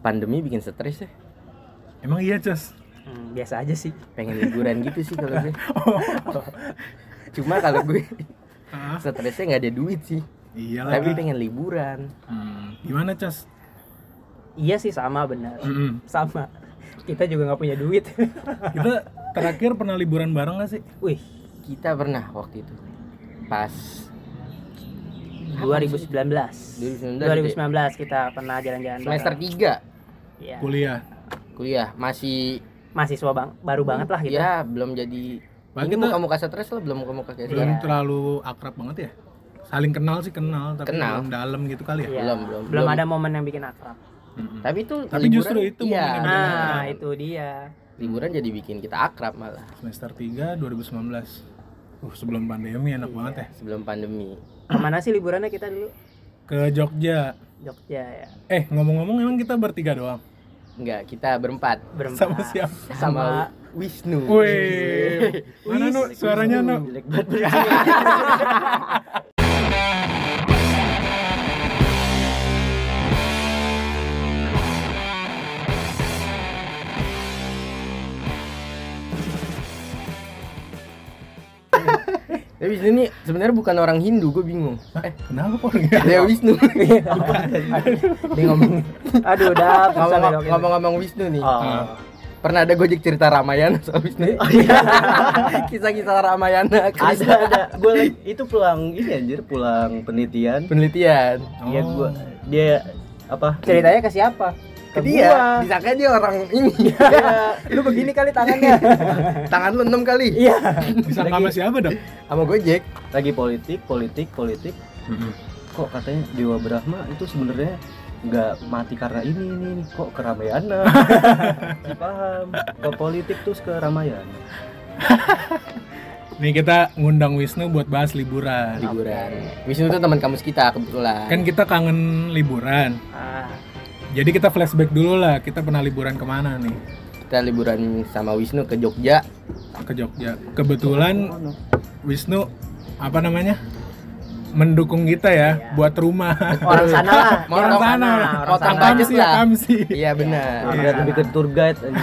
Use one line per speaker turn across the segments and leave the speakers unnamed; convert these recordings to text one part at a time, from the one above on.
pandemi bikin stres ya
Emang iya, Cus?
Hmm, biasa aja sih.
pengen liburan gitu sih kalau gue
Oh,
cuma kalau gue
ah,
stresnya nggak ada duit sih
iya
tapi
lagi.
pengen liburan
Hmm, gimana, Cus?
Iya sih sama benar.
Hmm.
Mm-mm.
Sama. Kita juga nggak punya duit.
Kita terakhir pernah liburan bareng gak sih?
Wih,
kita pernah waktu itu pas
2019.
2019,
2019 kita pernah jalan-jalan.
semester
bareng.
3
Iya.
Kuliah.
kuliah masih
Mahasiswa bang, baru banget lah gitu.
ya belum jadi
Bahkan
ini
kita
muka-muka stres lah belum muka-muka kayak
belum
sekarang.
terlalu akrab banget ya? Saling kenal sih kenal, tapi
Kenal.
belum dalam gitu kali ya.
Iya.
Belum, belum,
Belum
belum.
ada momen yang bikin akrab.
Mm-mm.
tapi itu
Tapi justru itu momen yang
iya,
benar.
Nah, itu dia.
liburan jadi bikin kita akrab malah
Semester 3 2019. Uh, sebelum pandemi enak banget ya.
sebelum pandemi
Kemana sih liburannya kita dulu?
Ke Jogja.
Jogja ya.
Eh, ngomong-ngomong emang kita bertiga doang.
enggak kita berempat
Berempat.
Sama siapa?
sama Wisnu
Wih. Mana Nu? Suaranya Nu?
Jelek banget.
tapi Wisnu ini sebenarnya bukan orang Hindu gue bingung eh
Kenapa kok enggak?
Dewa Wisnu
Dia ngomong. Aduh, udah
Ngomong- ngomong-ngomong Wisnu nih
Ah.
Oh.
pernah ada gojek cerita Ramayana soal Wisnu kisah-kisah Ramayana
ada ada gue itu pulang ini anjir pulang penelitian
penelitian
Oh.
ya gue dia apa
Ceritanya ke siapa?
ke dia disangka ya, dia orang ini
Lu begini kali tangannya.
tangan lu enam kali
Iya.
Bisa sama siapa dong?
sama gojek
lagi politik politik politik kok katanya Dewa Brahma itu sebenarnya nggak mati karena ini ini ini kok ke Ramayana Si paham ke politik terus ke Ramayana
Nih kita ngundang Wisnu buat bahas liburan.
liburan Wisnu itu teman kampus kita kebetulan
Kan kita kangen liburan.
Ah,
Jadi kita flashback dulu lah, kita pernah liburan kemana nih?
kita liburan sama Wisnu ke Jogja
Ke Jogja. Kebetulan Wisnu apa namanya? Mendukung kita ya buat rumah.
orang sana lah.
Mau
Dia
Iya. orang sana.
Orang
Mau
sana.
tambah.
Kamu
budget
sih ya,
lah.
kamu sih.
iya benar
Udah lebih ke tour guide anjir. Ke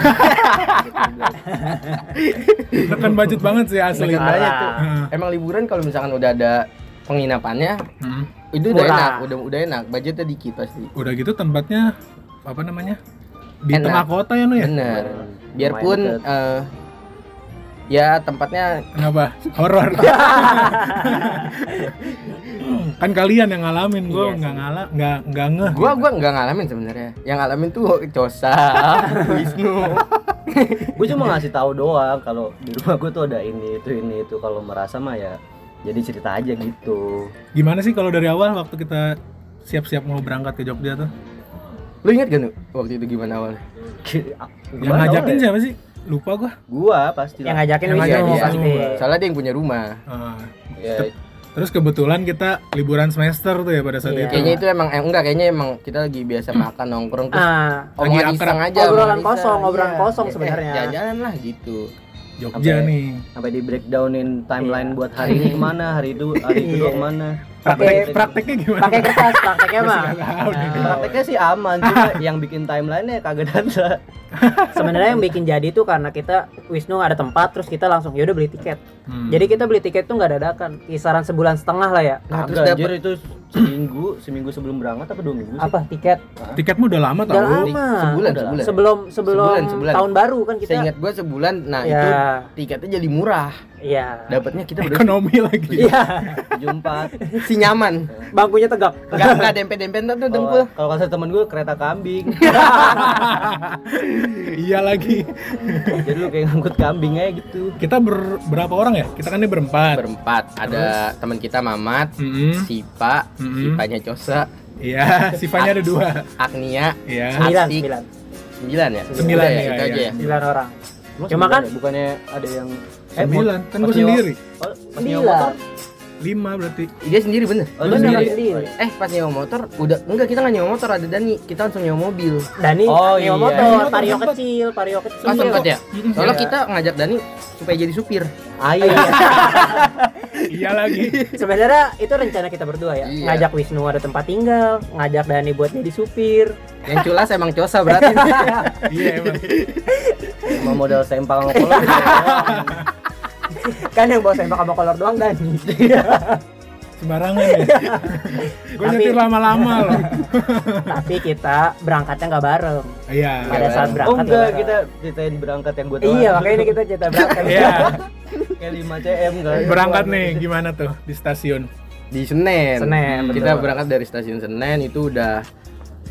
tour guide.
Tekan budget banget sih asli.
Tekan budget tuh.
Heeh.
emang liburan kalau misalkan udah ada penginapannya
Heeh.
itu udah
Murah.
enak udah udah enak budgetnya dikit pasti
Udah gitu tempatnya apa namanya? Di
Enak.
tengah kota ya, Nu ya?
bener
Lumayan
biarpun
deket.
eh, ya tempatnya
Kenapa? Horor. kan kalian yang ngalamin, gue
Iya
nggak ngalah, nggak nggak ngeh.
gua gua nggak ngalamin sebenarnya yang ngalamin tuh Cosa Wisnu
gue cuma ngasih tahu doang kalau di rumah gue tuh ada ini itu ini itu kalau merasa mah ya jadi cerita aja gitu
Gimana sih kalau dari awal waktu kita siap-siap mau berangkat ke Jogja tuh?
lu ingat gak nu waktu itu gimana awalnya
Yang ngajakin
ya?
siapa sih? Lupa gua.
gue pasti
Yang ngajakin
Yang
Wisnu
ngajakin Wisnu.
pasti.
soalnya dia yang punya rumah
Ah,
ya,
terus kebetulan kita liburan semester tuh ya pada saat itu.
Iya.
kayaknya itu emang eh, enggak kayaknya emang kita lagi biasa makan nongkrong terus
Ah,
omongan
Lagi akrab.
iseng aja
Obrolan
omongan
kosong,
iseng,
obrolan
iya.
kosong
Eh, eh,
sebenarnya.
jalan-jalan lah gitu
Jogja
Sampai-
nih.
sampai di breakdownin timeline buat hari ini kemana hari itu hari
Iya.
itu doang kemana
Praktek,
Sampai-
prakteknya gimana?
pakai Nah, kertas prakteknya mah.
prakteknya sih aman cuma yang bikin timeline nya kagak ada
Sebenarnya yang bikin jadi itu karena kita Wisnu ada tempat terus kita langsung yaudah beli tiket.
Hmm.
Jadi kita beli tiket tuh nggak dadakan, kisaran sebulan setengah lah ya.
Nah, terus
kagak
dapet-
anjir itu seminggu seminggu sebelum berangkat apa dua minggu sih
Apa tiket?
tiketmu udah lama
Udah
tau.
lama.
sebulan
Udah.
sebulan
Sebelum sebelum
Sebulan, sebulan.
tahun baru kan
saya
kita.
ingat gua sebulan nah
ya,
itu tiketnya jadi murah
iya.
dapatnya kita udah
Ekonomi lagi.
Iya,
tujuh empat
si nyaman
bangkunya tegak.
nggak nggak dempet dempet
Oh.
tuh dengkul
kalau kalau kata temen gue kereta kambing
iya lagi.
jadi lu kayak ngangkut kambing aja gitu
Kita ber- berapa orang ya? Kita kan ini berempat.
berempat ada teman kita Mamat
Mm-mm.
Sipa
Mm-mm.
Sipanya Cosa
Iya, sifatnya Mm-hmm. ada dua.
Agnia
Iya.
Sembilan,
Asik.
sembilan,
sembilan ya
Sembilan,
Udah ya,
iya,
itu
iya.
aja ya
sembilan orang.
Lu
Cuma
sembilan
kan-
ya? Eh, bukannya ada yang
Sembilan, kan gue
Masih nyawa-
sendiri.
oh, pas nyawa
Sembilan.
motor?
Lima berarti.
dia sendiri bener
Oh,
Lu
lu sendiri.
sendiri. Iya.
eh pas nyewa motor udah enggak kita nggak nyewa motor ada Dani kita langsung nyewa mobil
Dani
Oh,
nyewa
iya.
motor,
Motor
vario
sempet.
kecil, vario kecil.
pas sempat ya
Mm-mm.
soalnya
Iya.
kita ngajak Dani supaya jadi supir
Ah, iya.
Iya lagi.
Sebenarnya itu rencana kita berdua ya.
Iya.
Ngajak Wisnu ada tempat tinggal, ngajak Dani buat jadi supir.
Yang culas emang cosa berarti.
Iya emang.
Cuma modal sempal sama kolor.
kan yang bawa sempak sama kolor doang dan
Sembarangan ya. Gue
Tapi-
nyetir lama-lama loh.
tapi kita berangkatnya nggak bareng
Iya.
pada saat
oh
berangkat
enggak,
nggak
kita ceritain berangkat yang gue
bareng. iya makanya ini kita cerita berangkat
Iya.
kayak 5 cm kan.
Berangkat nih gimana tuh di stasiun?
Di Senen.
Senen,
Kita
betul.
berangkat dari stasiun Senen itu udah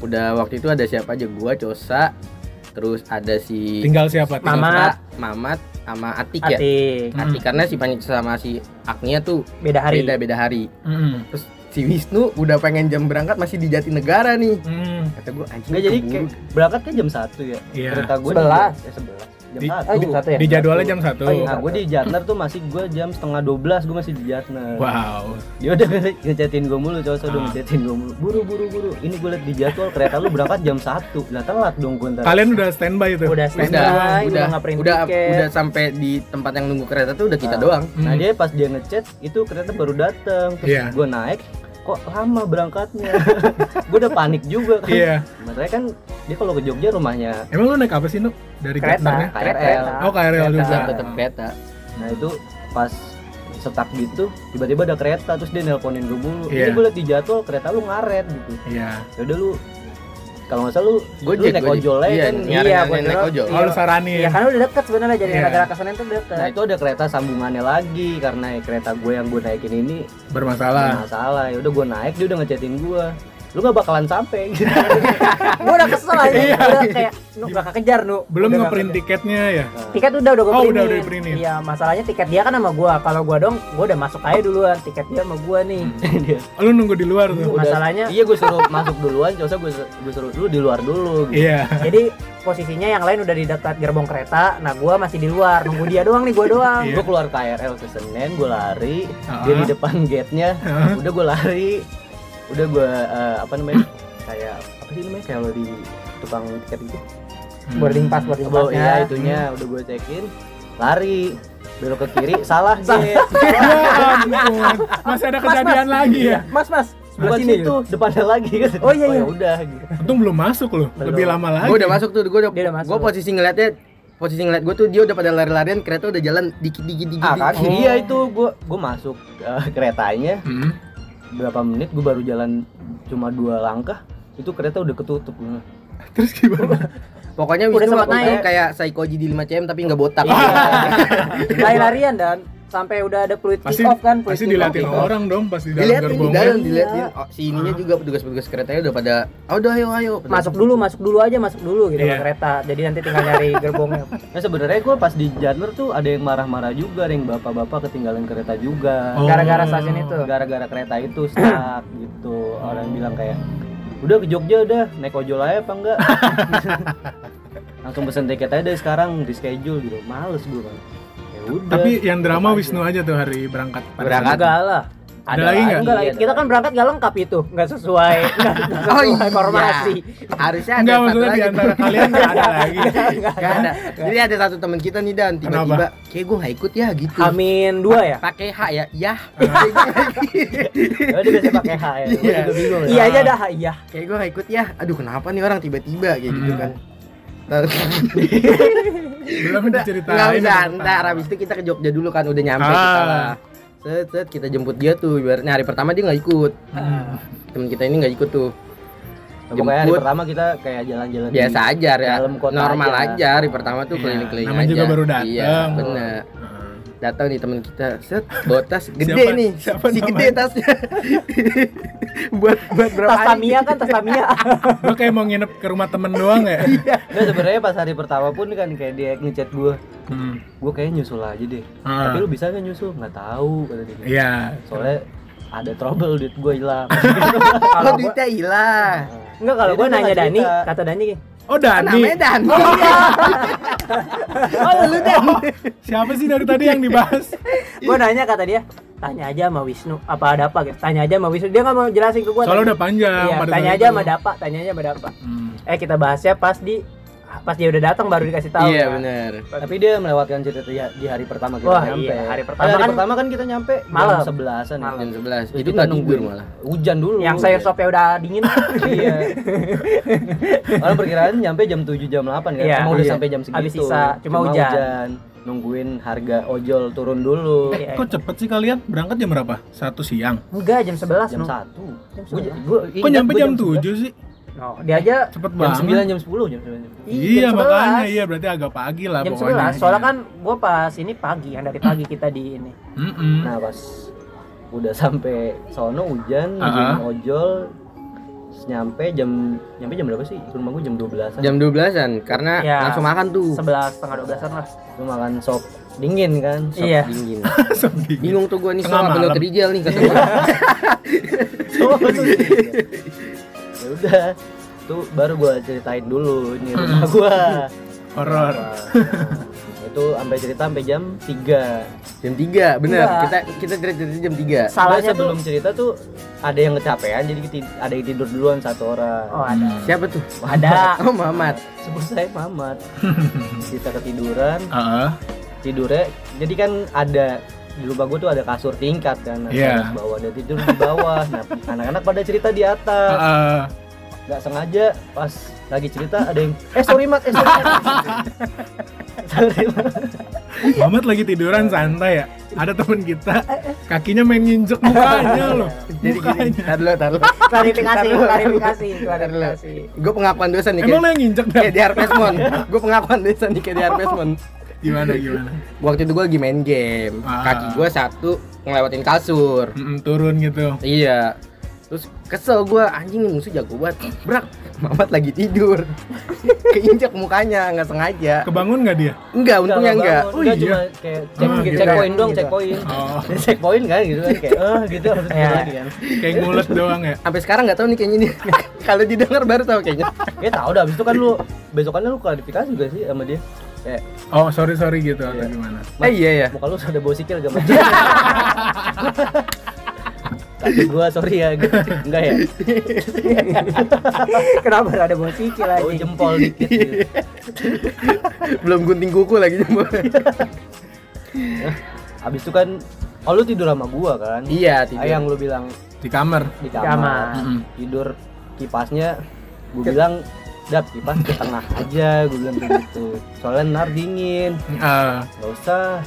udah waktu itu ada siapa aja gua, Cosa, terus ada si
Tinggal siapa? Tinggal
Mama.
Mamat, Mamat sama Atik ya.
Atik
Hmm.
Atik karena si Panji sama si Agnia tuh
beda hari
beda-beda hari.
siapa? Mm-mm.
Terus si Wisnu udah pengen jam berangkat masih di Jatinegara nih.
Mm.
Kata gua anjing.
Enggak jadi
keburu.
kayak berangkat kan jam 1 ya.
Iya.
Kereta gue
Sebelas.
Ya 11. Jam
Di-
1.
oh jam satu ya
Di jadwalnya jam satu.
Oh, iya.
Nah, gue di Jatner tuh masih gue jam setengah 12 gue masih di Jatner.
Wow.
Dia udah nge- ngechatin gue mulu, cowok udah
Ah.
ngechatin gue mulu. Buru buru buru. Ini gue liat di jadwal kereta lu berangkat jam 1. Lah telat dong gue ntar.
Kalian udah standby tuh.
Eh, Udah,
udah standby udah
udah,
nggak print
udah,
tiket
udah sampai di tempat yang nunggu kereta tuh udah kita
Ah.
doang.
Nah
Mm.
dia pas dia ngechat itu kereta baru datang. Terus
Iya.
gue naik kok lama berangkatnya. gue udah panik juga kan.
Iya.
Makanya kan dia kalau ke Jogja rumahnya
Emang lu naik apa sih, Nuk? Dari
kereta
Jatnernya?
KRL.
Oh, KRL
Tetap,
juga.
tetap kereta.
Nah itu pas setak gitu tiba-tiba ada kereta terus dia nelponin gue mulu.
Iya.
Ini gue liat di jadwal kereta lu ngaret gitu.
Iya.
Ya udah lu kalau nggak salah lu
Gojek,
lu naik
Gojek.
ojol aja
Iya,
kan.
nyari-
Iya,
nyari-
gua
naik
dulu.
ojol.
Oh, lu saranin.
ya karena udah deket sebenarnya jadi
Iya.
negara kesenan tuh deket
Nah itu ada kereta sambungannya lagi karena kereta gue yang gue naikin ini
Bermasalah.
Iya.
masalah. Ya udah gue naik dia udah ngechatin gue. Lu gak bakalan sampai gitu.
gue udah kesel aja
Iya.
udah kayak nu bakal kejar nu
Belum
Udah
ngeprint
nggak kejar.
tiketnya ya.
tiket udah udah
Oh,
gue
udah-
printin.
udah diprintin.
iya masalahnya tiket dia kan sama gue kalau gue dong gue udah masuk aja duluan tiket dia sama gue nih
Dia-
Oh, Lu nunggu di luar tuh.
Udah.
masalahnya
Iya gue suruh masuk duluan, Josa gue gue suruh lu di luar dulu gitu.
Iya.
jadi posisinya yang lain udah di dekat gerbong kereta nah gue masih di luar nunggu dia doang nih gue doang
Iya.
Gue keluar KRL ke Senen, gue lari,
Ah.
dia di depan gate-nya,
Ah.
udah gue lari, udah gue eh, apa namanya kayak apa sih namanya kalau di tukang tiket itu,
boarding
Ya
pass boarding
oh
passnya
iya itunya, udah gue cekin, lari, belok ke kiri, salah gate,
Ya ampun. Masih ada kejadian lagi ya.
mas mas
bukan
sini,
situ, depannya lagi. gitu.
Oh, iya, iya.
ya udah. Gitu.
Untung belum masuk loh.
Belum.
Lebih lama lagi.
Gue udah masuk tuh, gue udah,
Dia udah masuk.
Gue posisi ngeliatnya, posisi ngeliat gue tuh dia udah pada lari-larian, kereta udah jalan dikit-dikit dikit.
Ah
dikit.
kan?
kaki iya itu gue gue masuk eh, keretanya
Hmm.
berapa menit gue baru jalan cuma dua langkah itu kereta udah ketutup
Terus gimana?
Pokoknya
Udah
Wisnu
sempat
waktu itu
naik. Iya.
kayak Saikoji di 5 cm tapi nggak botak.
lari-larian dan sampai udah ada fluid
Pasti
kick off kan fluid
pasti
kick off,
diliatin
kick off.
orang dong pas di dalam
dilihatin di
gerbongnya.
dalam, dilihatin. Oh, si ininya juga petugas-petugas keretanya udah pada, oh udah ayo ayo.
masuk dulu masuk dulu aja masuk dulu gitu
Iya.
ke kereta jadi nanti tinggal nyari gerbongnya
nah sebenarnya gue pas di Janur tuh ada yang marah-marah juga ada yang bapak-bapak ketinggalan kereta juga
Oh.
gara-gara stasiun itu
gara-gara kereta itu stuck gitu orang bilang kayak udah ke Jogja udah naik ojol aja apa enggak langsung pesen tiket aja deh sekarang di schedule gitu males gue kan ya udah
Tapi yang drama
Tetap aja.
Wisnu aja tuh hari berangkat.
Berangkat.
enggak lah
Ada lagi nggak?
enggak lah kita kan berangkat nggak lengkap itu nggak sesuai nggak
Oh,
sesuai
iya.
formasi
Harusnya ada
Enggak
satu
maksudnya
lagi.
di antara kalian nggak ada lagi.
Nggak ada. Jadi ada satu teman kita nih dan tiba-tiba kayak gue nggak ikut ya gitu.
amin dua ya
Pakai H ya, yah.
ya udah biasa pakai H ya gue
Iya.
juga bingung ya
iya aja dah iya
kayak gue gak ikut ya aduh kenapa nih orang tiba-tiba kayak gitu
Hmm.
kan Nah,
Belum Hmm.
udah
diceritain.
nggak usah
yang
ntar
pertama.
habis itu kita ke Jogja dulu kan udah nyampe kita
Ah.
lah set, set, kita jemput dia tuh ibaratnya hari pertama dia nggak ikut
Hmm.
temen kita ini nggak ikut tuh
Nah, pokoknya hari
Jemput.
pertama kita kayak
Hmm.
jalan-jalan di-
biasa aja ya
dalam kota
normal
aja.
aja. hari pertama tuh
Iya,
keliling-keliling
namanya
aja
juga baru datang.
iya bener
Hmm.
datang nih temen kita set bawa tas gede
Siapa-
nih
siapa
si
namanya?
gede tasnya buat buat berapa
tas
hari?
Tamiya kan tas Tamiya
Gua kayak mau nginep ke rumah temen doang ya.
Iya.
Nggak, Nah, sebenarnya pas hari pertama pun kan kayak dia ngechat gue
Hmm.
gue kayaknya nyusul aja deh
Ah.
tapi lu bisa gak nyusul nggak tahu kata dia gitu.
Iya.
soalnya ada trouble duit gue hilang
kalau
kalau gua-
duitnya hilang
enggak kalau
Jadi
gue
Iya, dia
nanya
nggak
Dani kan-
cerita.
kata Dani gini,
Oh Dani.
namanya Dan
oh lu Dan
Siapa sih dari tadi yang dibahas?
gue nanya kata dia tanya aja sama Wisnu apa ada apa gitu tanya aja sama Wisnu dia nggak mau jelasin ke gue
Soalnya udah panjang.
Iya,
pada
tanya
saat
aja
itu.
sama Dapa, tanya aja sama Dapa.
Hmm.
Eh kita bahasnya pas di pas dia udah datang baru dikasih tahu.
iya
kan.
bener
Tapi dia melewatkan cerita di, di hari pertama kita
Wah,
nyampe.
iya, hari
Eh,
pertama
hari
kan-
pertama kan kita nyampe
Malam.
jam 11-an ya.
Malam.
jam 11
Terus
itu
kita
nggak tidur
nungguin.
malah
Hujan dulu.
Yang sayur sopnya udah dingin.
Iya. Orang perkiraan nyampe jam 7 jam 8 kan.
Iya.
Emang udah
Iya.
sampai jam segitu.
Habis sisa, cuma hujan.
Nungguin harga ojol turun dulu.
Eh,
Iya,
kok cepet sih kalian? Berangkat jam berapa? Satu siang.
Enggak, jam 11
jam
no.
1.
Jam
Gua,
sembilan.
gua,
Kok nyampe jam 7
7?
sih?
No, dia aja
Cepet
Jam
banget.
9 jam 10 jam 9 jam 10.
Iya
jam
makanya
11.
iya berarti agak pagi lah
jam
pokoknya.
11. Soalnya kan gua pas ini pagi yang dari pagi kita di ini. Hmm.
Mm-mm.
Nah pas udah sampai sono hujan, nungguin
Ah.
ojol nyampe jam nyampe jam berapa sih? Rumah gua jam 12-an.
jam 12-an karena
Iya.
Ya.
langsung makan
Uh.
tuh
11 setengah 12-an lah.
Gua makan sop dingin kan. Sop
Iya.
dingin
Sedih.
bingung tuh gua nih
Tengah
soal belot
malam. Iya.
rijal nih kata gua.
Oh, ya udah tuh baru gua ceritain dulu ini rumah
Hmm.
gua
Horor.
Nah, itu sampai cerita sampai jam 3
jam 3 bener
Iya.
Enggak.
kita kita cerita jam 3
Salahnya tuh
sebelum cerita tuh ada yang kecapean jadi keti- ada yang tidur duluan satu orang
Oh, ada.
siapa tuh
Ah.
Ada.
oh Mamat
sebut saya Mamat kita ketiduran
Heeh.
tidurnya jadi kan ada di rumah gua tuh ada kasur tingkat kan atas
Iya.
bawah ada tidur di bawah nah anak-anak pada cerita di atas
Heeh.
nggak sengaja pas lagi cerita ada yang eh sorry mat eh sorry mat sorry mat
Mamat lagi tiduran santai ya. Ada temen kita kakinya main nginjek mukanya loh.
jadi gini
Mukanya.
tar dulu tar dulu
Klarifikasi,
Ntar dulu.
klarifikasi,
Ntar dulu.
klarifikasi.
gue pengakuan dosa nih
Emang
kayak,
lo yang nginjek
kayak
Dam?
di Harpesmon gue pengakuan dosa nih kayak di Harpesmon
Gimana gimana?
waktu itu gue lagi main game
Ah.
kaki gue satu ngelewatin kasur
Mm-mm, turun gitu.
iya terus kesel gue anjing nih musuh jago banget brak Mamat lagi tidur keinjak mukanya nggak sengaja
Kebangun nggak dia?
enggak untungnya
Nggak
enggak
bangun,
Oh,
nggak,
iya.
cuma kayak cek
Ah, gitu.
cek poin doang
Gitu.
cek poin
Oh,
cek poin kan gitu kan kayak eh gitu harus
Iya.
gitu lagi kan
kayak ngulet doang ya.
sampai sekarang nggak tahu nih kayaknya nih kalau didengar baru tahu kayaknya
ya tau dah abis itu kan lu besokannya lu klarifikasi juga sih sama dia kayak
Oh, sorry sorry gitu atau
Iya.
gimana?
eh iya ya
muka lu sudah bau sikil gak macam kaki gua sorry ya gitu. enggak ya
Iya.
Kenapa ada bau
Oh,
sikil
bau
aja?
jempol dikit gitu.
belum gunting kuku lagi jempol.
abis itu kan oh lu tidur sama gua kan
iya tidur
ayang lu bilang
Di kamar.
Di
di
kamar.
kamar.
Mm-mm.
tidur kipasnya gue bilang dap kipas ke tengah aja gue bilang begitu soalnya nar dingin
Ah,
nggak usah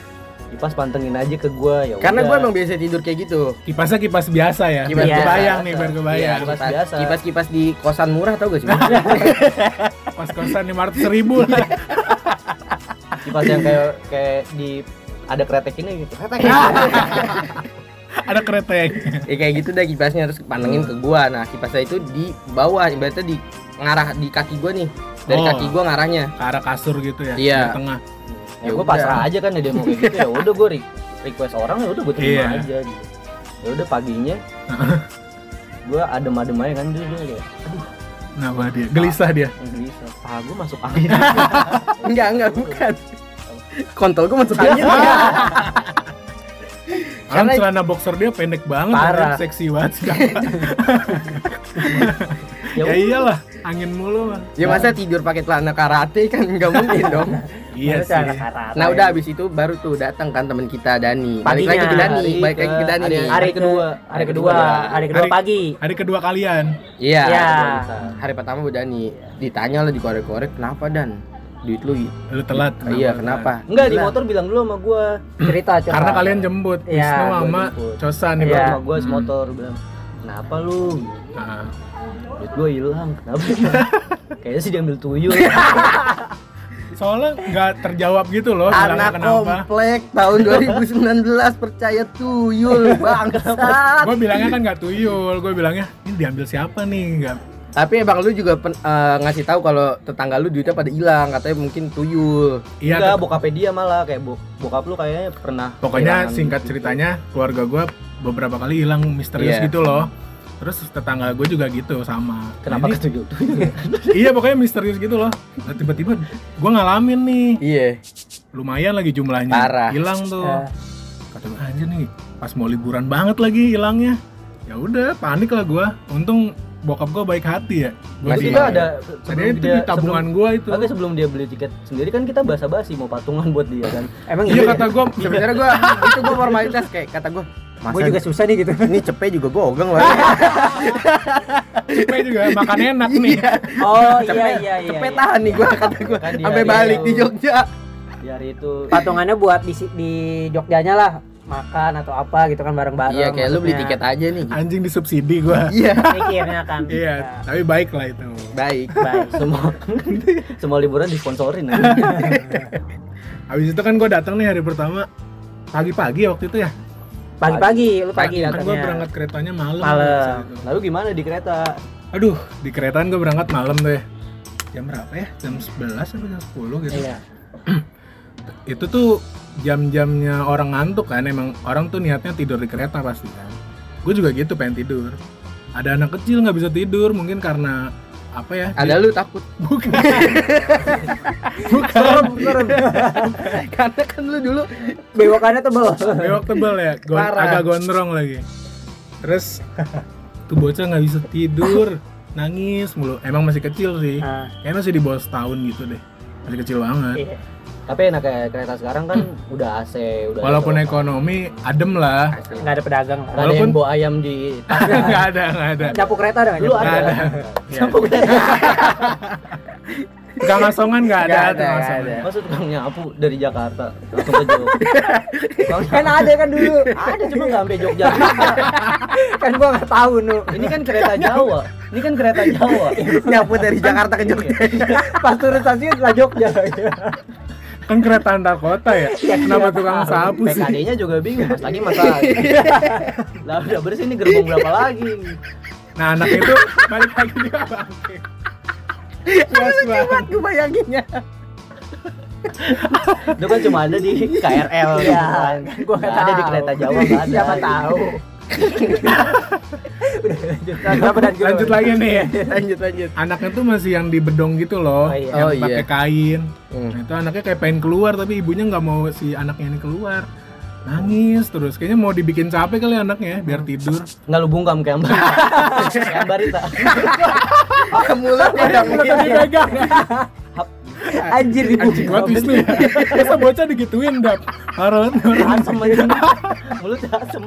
kipas pantengin aja ke gue ya
karena gue
udah.
emang biasa tidur kayak gitu
kipasnya kipas biasa ya.
Kipas
Kipas
biasa.
kebayang nih, biar kebayang.
Iya. Kipas biasa.
kipas kipas di kosan murah tau gak sih
Pas kosan lima ratus ribu lah.
kipas yang kayak kayak di ada kretek ini gitu kretek
Ada kereteng.
ya kayak gitu dah kipasnya terus pantengin ke gua nah kipasnya itu di bawah ibaratnya di ngarah di kaki gua nih dari
Oh.
kaki gua ngarahnya
Ke arah kasur gitu ya.
Iya.
Di tengah.
ya
Ya
gue
udah.
pasrah aja kan ya dia mau kayak gitu ya udah gue request orang ya udah gue terima
Iya.
aja gitu ya udah paginya gue adem-adem aja kan dulu kayak
Kenapa dia? Gelisah dia.
gelisah ah gue masuk angin
enggak enggak bukan kontol gua masuk angin
Iya.
Kan
Karena-
celana boxer dia pendek banget, kan?
Parah.
seksi banget sih. ya iyalah, angin mulu lah.
ya masa tidur pakai celana karate kan nggak mungkin dong
Iya
Terus ada
sih.
karatan.
nah udah habis itu baru tuh datang kan teman kita Dani balik
Paginya.
lagi ke Dani
Hari
balik lagi ke Dani
ke-
nih.
hari
Hari
kedua.
kedua, hari kedua, hari kedua
Hari-
pagi.
Hari kedua kalian.
iya
Iya.
hari pertama Bu Dani ditanya lah di korek-korek kenapa Dan duit lu
Lu telat.
iya kenapa
enggak di
Gila.
motor bilang dulu sama gue
Cerita cerita.
Karena kalian jemput
Iya,
Wisnu
gua
sama
jemput.
Cosan nih,
Iya.
Bang.
sama gue
Hmm.
semotor bilang kenapa lu
Nah,
duit gue hilang kenapa kayaknya sih diambil tuyul
Iya, Soalnya nggak terjawab gitu loh, bilangnya
Anak
kenapa.
komplek tahun 2019 percaya tuyul bangsat.
Gue bilangnya kan nggak tuyul, gue bilangnya ini diambil siapa nih? Nggak.
Tapi emang lu juga pen- eh, ngasih tahu kalau tetangga lu duitnya pada hilang, katanya mungkin tuyul.
Iya,
enggak
tet-
bokapnya dia malah kayak bok- bokap lu kayaknya pernah
pokoknya
kehilangan gitu.
singkat
duit.
ceritanya keluarga gue beberapa kali hilang misterius
Iya.
gitu loh. Terus tetangga gue juga gitu sama.
kenapa
Jadi-
ketuyul tuyul
iya pokoknya misterius gitu loh Nah, tiba-tiba gue ngalamin nih
Iya.
lumayan lagi jumlahnya
Parah.
hilang tuh
Ya.
Iya.
kata gue anjir nih pas mau liburan banget lagi hilangnya ya udah panik lah gue untung bokap gua baik hati ya. Gua
Masih
di-
Tiba ada
Tadinya itu di tabungan
sebelum,
gua itu.
Oke, sebelum dia beli tiket sendiri kan kita basa-basi mau patungan buat dia kan.
Emang
Iya
iya.
kata gua
sebenarnya gue itu gue formalitas kayak kata gue masa
Gue juga susah nih gitu.
ini cepe juga gogeng lah
cepet juga makan enak nih.
Oh iya
Cepet-
iya iya.
cepe
iya.
tahan nih gue kata gue
Kan dia-
sampai
dia
balik di
tahu.
Jogja
Di hari itu
Patungannya buat di si- di Jogjanya lah makan atau apa gitu kan bareng-bareng.
iya kayak lu beli
maksudnya.
tiket aja nih gitu.
Anjing disubsidi gua.
iya
Mikirnya kan.
Iya, tapi baik lah itu.
baik
Ya, Baik.
semua semua liburan disponsorin kan.
Habis itu kan gua datang nih hari pertama pagi-pagi waktu itu ya.
Pagi-pagi lu
Pagi,
pagi
Kan gua
datangnya.
berangkat keretanya malam.
Iya, Malam.
saat itu.
Lalu gimana di kereta?
Aduh, di keretaan gue berangkat malam tuh ya. Jam berapa ya? Jam 11 atau jam 10 gitu.
Iya.
Itu tuh jam-jamnya orang ngantuk kan. Emang orang tuh niatnya tidur di kereta pasti kan. Gue juga gitu pengen tidur. Ada anak kecil nggak bisa tidur mungkin karena apa ya?
ada lu takut
Bukan.
Serem, serem.
karena kan lu dulu
Bewokannya tebel.
Bewok tebel ya. Gon-
Parah.
agak gondrong lagi. Terus tuh bocah nggak bisa tidur, nangis mulu. Emang masih kecil sih.
Ah,
Kayaknya masih di bawah setahun gitu deh. Masih kecil banget.
iya.
Tapi enak kayak kereta sekarang kan udah AC,
Hmm.
udah
Walaupun
ada-
ekonomi adem lah.
Nggak ada pedagang lah.
Nggak ada
walaupun-
yang bawa ayam di
Nggak ada, nggak ada.
Capu kereta ada nggak?
Lu
Capu
ada.
kereta?
Ya.
Campur kereta.
Tukang asongan nggak ada,
Nggak ada,
tukang
nggak
asongan.
ada.
Maksud tukang nyapu dari Jakarta langsung ke Jogja. Tukang
Kan ada kan dulu.
ada cuma nggak sampai Jogja.
Kan gua nggak tahu nu.
Ini kan kereta Jawa. Ini kan kereta Jawa.
nyapu dari Jakarta ke Jogja
Pas turun stasiun lah Jogja.
Kan kereta antar kota ya. Kenapa tukang sapu sih?
PKD-nya juga bingung pas lagi masa. Lah udah bersih ini gerbong berapa lagi?
Nah anak itu balik lagi dia bangke. Puas banget.
gue bayanginnya
Itu kan cuma ada di
Oh,
KRL
Iya,
kan.
gua nggak
Nggak ada di
tahu.
kereta Jawa nggak ada.
Siapa tahu. Udah lanjut. Kenapa dan gimana?
Lanjut lagi nih ya.
lanjut lanjut
Anaknya tuh masih yang di bedong gitu loh,
Oh, iya.
yang
Oh, iya.
pakai kain.
Hmm.
Nah, itu anaknya kayak pengen keluar tapi ibunya nggak mau si anaknya ini keluar. Nangis terus, kayaknya mau dibikin capek kali anaknya ya, biar
Hmm.
tidur.
Iya,
Nggak lu bungkam kayak Mbak. kayak Mbak Rita.
mulutnya nggak mungkin
Dipegang.
Anjir di
Anjing
iya.
banget Wisnu ya. Masa bocah digituin dap. Harun, Harun.
Asem aja. Mulutnya asem.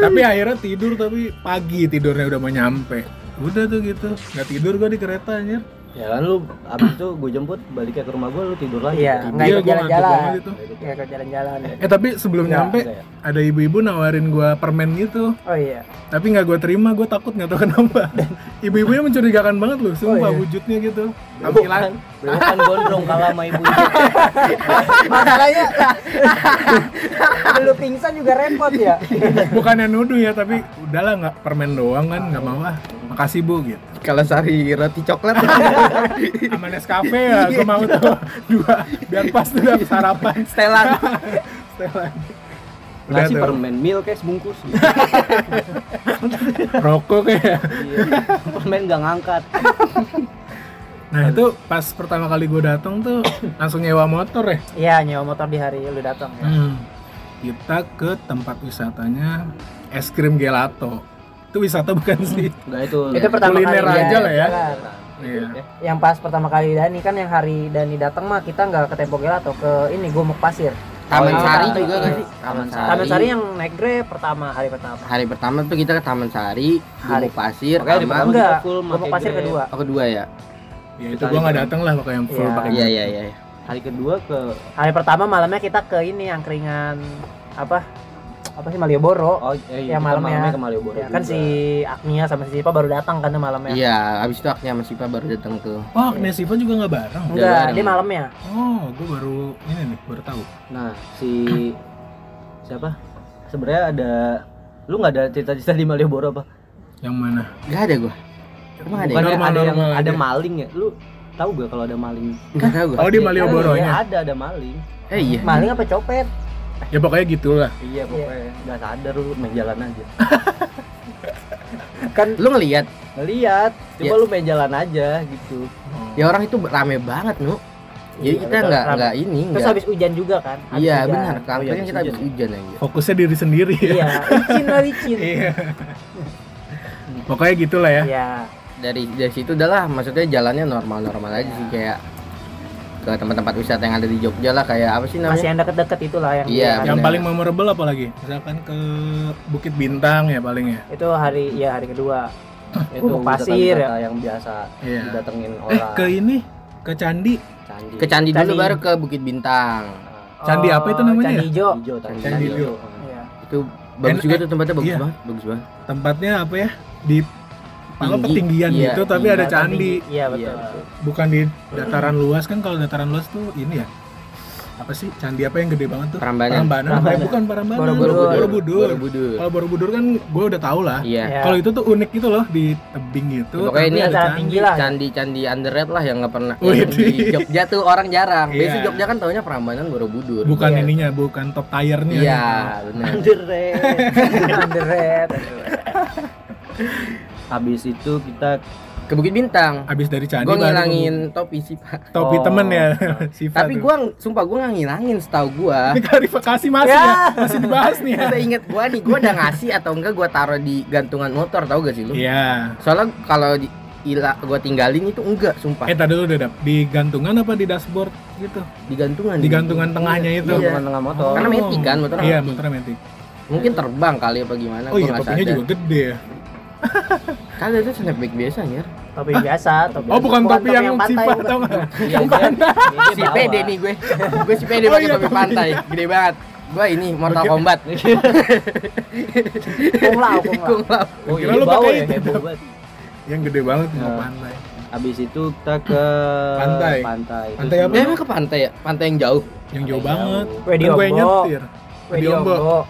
tapi akhirnya tidur tapi pagi tidurnya udah mau nyampe udah tuh gitu nggak tidur gua di kereta anjir
Ya kan lu abis itu gue jemput baliknya ke rumah gue lu tidur lagi.
Iya,
Tidur.
nggak
Iya,
ikut
gua ngantuk
jalan-jalan.
banget itu.
Nggak ikut jalan-jalan. ya.
eh tapi
Iya,
sebelum
Nggak,
nyampe
nggak ya?
ada ibu-ibu nawarin gua permen gitu
Oh iya.
tapi nggak gua terima gua takut nggak tahu kenapa ibu-ibunya mencurigakan banget loh sumpah
iya.
wujudnya gitu
Bukan,
tampilan
bukan kan gondrong kalah sama ibu.
Masalahnya lu pingsan juga repot ya.
bukannya nuduh ya tapi udahlah nggak permen doang kan nggak mau ah makasih bu gitu
kalau sari roti coklat
sama Nescafe ya gua mau tuh dua biar pas tuh dap, sarapan
setelan
setelan Udah
Ngasih
tuh.
permen mil kayak sebungkus. Gitu.
rokok ya. kayak
Iya. Permen nggak ngangkat.
Nah itu pas pertama kali gue datang tuh langsung nyewa motor ya.
Iya, nyewa motor di hari lu datang ya.
Kita ke tempat wisatanya es krim gelato. Itu wisata bukan sih?
Nggak Hmm. itu.
Itu pertama
kuliner
kali
aja lah ya.
jalan.
Iya.
Yang pas pertama kali Dani kan yang hari Dani datang mah kita nggak ke Tempo Gelato ke ini Gumuk Pasir.
Taman
Oh, iya.
Sari juga kan sih?
Taman
Taman
Sari.
Sari.
Taman Sari yang naik Grab pertama hari pertama.
Hari pertama tuh kita ke Taman Sari,
Hari-
Gunung Pasir,
Makanya di pertama
sama
Enggak,
kita full
Gumuk
pakai
Pasir
Grab.
kedua.
oh kedua ya.
Ya itu gue nggak datang lah pakai yang full
Iya.
pakai.
Iya iya iya.
Hari kedua ke
Hari pertama malamnya kita ke ini angkringan apa? Apa sih Malioboro?
oh eh,
Ya,
kita
malamnya.
ke Malioboro.
ya, kan
juga.
si Agnia sama si Sipa baru datang kan tuh malamnya.
Iya, abis itu akhirnya sama Sipa baru datang tuh.
Oh, Agnes Ivan juga nggak bareng.
Udah
Enggak,
bareng.
dia malamnya.
Oh, gue baru ini nih baru tahu.
Nah, si siapa? Sebenarnya ada lu nggak ada cerita-cerita di Malioboro apa?
Yang mana?
Gak ada gua. Emang ada?
Bukan
ya?
Normal,
ada yang
normal
ada
aja.
maling ya? Lu tahu gak kalau ada maling?
Gak tau gua.
Oh di
Iya,
Malioboronya.
ada ada maling.
Eh iya.
Maling apa copet?
Ya pokoknya gitulah.
Iya, pokoknya nggak sadar lu main jalan aja.
Kan
Lu ngelihat
Ngeliat, coba
Iya.
lu main jalan aja gitu.
ya orang itu rame banget nu. Jadi
Iya,
kita
betul.
nggak
Ramai.
nggak ini
Terus
nggak.
habis hujan juga kan? Habis
Iya
hujan.
benar.
Oh, iya,
Kankernya kita
habis
habis hujan ya. aja.
Fokusnya diri sendiri ya.
Iya, licin lah licin.
Iya. Pokoknya gitulah ya.
Iya.
Dari dari situ udahlah maksudnya jalannya normal-normal aja sih kayak ke tempat-tempat wisata yang ada di Jogja lah kayak apa sih
Masih
namanya?
yang deket-deket itulah yang
Iya,
dia-
Yang
Bener.
paling memorable apa lagi? Misalkan ke Bukit Bintang ya paling ya.
itu hari ya hari kedua.
itu
Ke pasir
wisata-wisata yang biasa
Iya.
didatengin
Eh
orang
ke ini ke candi.
candi
Ke Candi dulu
Candi.
baru ke Bukit Bintang.
Ah,
Candi apa itu
Oh,
namanya
Candi
ya?
hijau.
hijau Ah. candi,
Candi
hijau.
Iya.
Itu bagus
En-
juga tuh tempatnya bagus
iya.
banget, bagus banget.
Tempatnya apa ya? Di kalau
Tinggi.
ketinggian
Iya,
gitu tapi
iya,
ada
Datang
candi.
tinggi. Iya betul.
Iya, betul.
Bukan di dataran luas kan kalau dataran luas tuh ini ya. Apa sih candi apa yang gede banget tuh?
Prambanan.
Apa ya?
Prambanan.
bukan Parambanan.
Borobudur.
Borobudur.
Borobudur.
Kalau Borobudur kan gue udah tau lah.
Iya.
Iya.
Kalau itu tuh unik gitu loh di tebing gitu.
Pokoknya ini
tapi ada
dataran
candi.
tinggi lah.
Candi-candi underrated lah yang nggak pernah
Wih,
yang di
di-
Jogja tuh orang jarang. Biasanya
Iya.
Jogja kan taunya Prambanan Borobudur.
Bukan
Iya.
ininya, bukan top tire-nya.
Iya, benar.
Underrated.
Underrated.
habis itu kita
Ke Bukit Bintang.
Abis dari candi
Gue
baru
ngilangin topi sih, Pak.
topi
Oh.
temen ya. Siva
Tapi
tuh.
gua sumpah gua nggak ngilangin setahu gua.
Ini klarifikasi masih
Ya.
ya. masih dibahas nih ya.
Kita inget gua nih, gua udah ngasih atau enggak gua taruh di gantungan motor tau gak sih lu?
Iya.
Soalnya kalau di ila- gua tinggalin itu enggak sumpah.
Eh tadi dulu deh, Dap. di gantungan apa di dashboard gitu?
Di gantungan.
Di gantungan tengahnya itu.
Iya.
gantungan tengah motor
Karena metik kan, motor
Iya,
metik.
motor metik.
Mungkin terbang kali apa gimana gua
Oh iya,
nggak
topinya
sadar.
juga gede ya.
Kagak itu snapback biasa ya.
Topi biasa, topi.
Oh, bukan topi yang
pantai,
Siva
bukan.
tau nggak?
Iya, dia- dia- dia
Si
bawa.
pede nih gue. gue si pede
Oh
pakai
iya,
topi
topi.
pantai, gede banget. Gue ini Mortal
Oke.
Kombat.
Kung Lao,
Kung
Kung Lao.
Lao.
oh iya
Kira lu
dibawa
pakai
ya
itu,
heboh
Dap.
banget
Yang gede banget mau
Nah.
pantai.
habis itu kita ke
Pantai.
pantai Itu
Pantai apa?
Dia emang ke pantai ya? Pantai yang jauh.
Yang jauh
Pantai
banget.
jauh.
Wedi
Kan gue
Ombo.
nyetir.
Wedi
Di Ombo.
Ombo.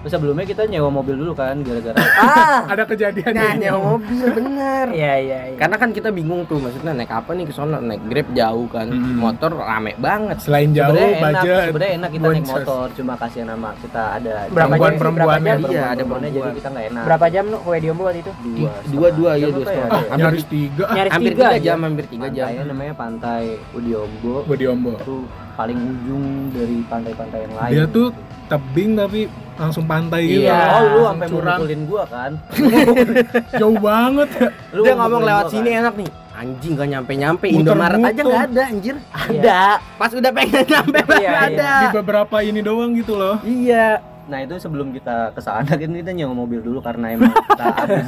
Terus sebelumnya kita nyewa mobil dulu kan gara-gara
Ah.
Ada kejadian
Nah,
ini.
nyewa mobil bener.
Iya, iya, iya.
Karena kan kita bingung tuh maksudnya naik apa nih ke sono? Naik Grab jauh kan.
Mm-mm.
Motor rame banget.
Selain jauh,
sebenarnya enak
budget.
sebenarnya enak kita naik
boncos.
motor cuma kasihan sama kita
Berapa
ada
jam sih? Berapa
Perempuan-perempuannya.
Iya,
jam?
ada
perempuannya jadi
perempuan.
kita nggak enak
Berapa jam lu ke Wedi Ombo waktu itu?
dua
Dua, dua, iya,
setengah.
dua
Jam apa
setengah.
ya?
Ah,
Nyaris tiga.
Nyaris
Hampir
tiga
tiga
ya?
jam, hampir tiga jam.
Pantainya namanya Pantai Udiombo
Gue di Ombo.
itu paling ujung dari pantai-pantai yang lain.
Dia tuh tebing tapi langsung pantai gitu.
Iya.
Oh, lu sampai
Curang.
mukulin gua kan?
Jauh banget.
Lu
Dia ngomong
mukulin
lewat
gua,
sini ya?
kan?
enak nih. Anjing gak nyampe-nyampe
Muter-muter.
Indomaret aja nggak ada anjir.
Ada.
Pas udah pengen nyampe baru
Iya, iya.
ada.
Di beberapa ini doang gitu loh.
Iya.
Nah, itu sebelum kita ke sana kan kita nyewa mobil dulu karena emang kita habis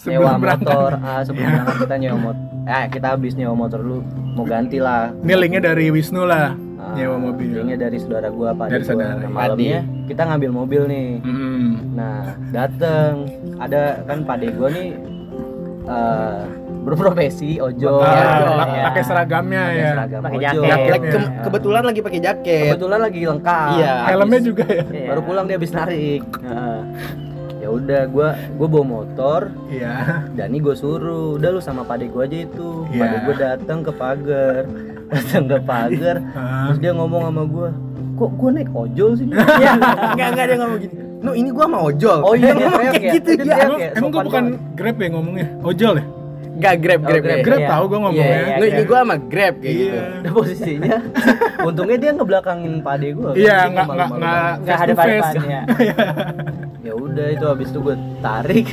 nyewa
Sebelum berangkat. Iya.
motor. Ah, sebelum berangkat kita nyewa motor. Eh, kita habis nyewa motor dulu mau ganti lah.
Ini linknya dari Wisnu lah.
Ah,
Nyewa mobil.
linknya dari saudara gua, Pak.
Dari saudara. iya.
Nah, malamnya kita ngambil mobil nih.
Hmm.
Nah, dateng ada kan pade gua nih eh, berprofesi ojol.
Ah,
Iya,
pak-
iya.
pakai seragamnya
Oh, Pakai
ya.
seragam
Pakai
ojol.
jaket.
Lagi-
Iya.
ke- kebetulan lagi pakai jaket.
Kebetulan lagi lengkap.
Iya.
Habis-
Helmnya juga ya.
Iya.
Baru pulang dia habis narik. Nah, ya udah gua gua bawa motor,
Iya.
Dani gue suruh, udah lu sama pade gua aja itu.
Iya.
Pade gua datang ke pagar. Datang ke pagar,
Ah.
terus dia ngomong sama gua, "Kok gua naik ojol sih?"
Iya, enggak enggak dia ngomong gini. No, ini gua mau ojol.
Oh iya,
Dia ngomong
teriak
kayak
ya?
gitu
Dia
dia.
teriak.
Emang,
Kayak
emang gue
sopan
bukan Grab ya ngomongnya? Ojol ya?
Enggak grab grab.
Grab,
ya.
Grab
Iya.
tahu gue ngomongnya.
Iya,
No, ini gua sama grab kayak
Iya.
gitu.
Udah posisinya. Untungnya dia ngebelakangin pade gua.
Iya,
Dia
nggak nggak
malu-malu
nggak
banget.
Enggak
face
ada
to face.
depan ya.
Ya udah itu habis itu gue tarik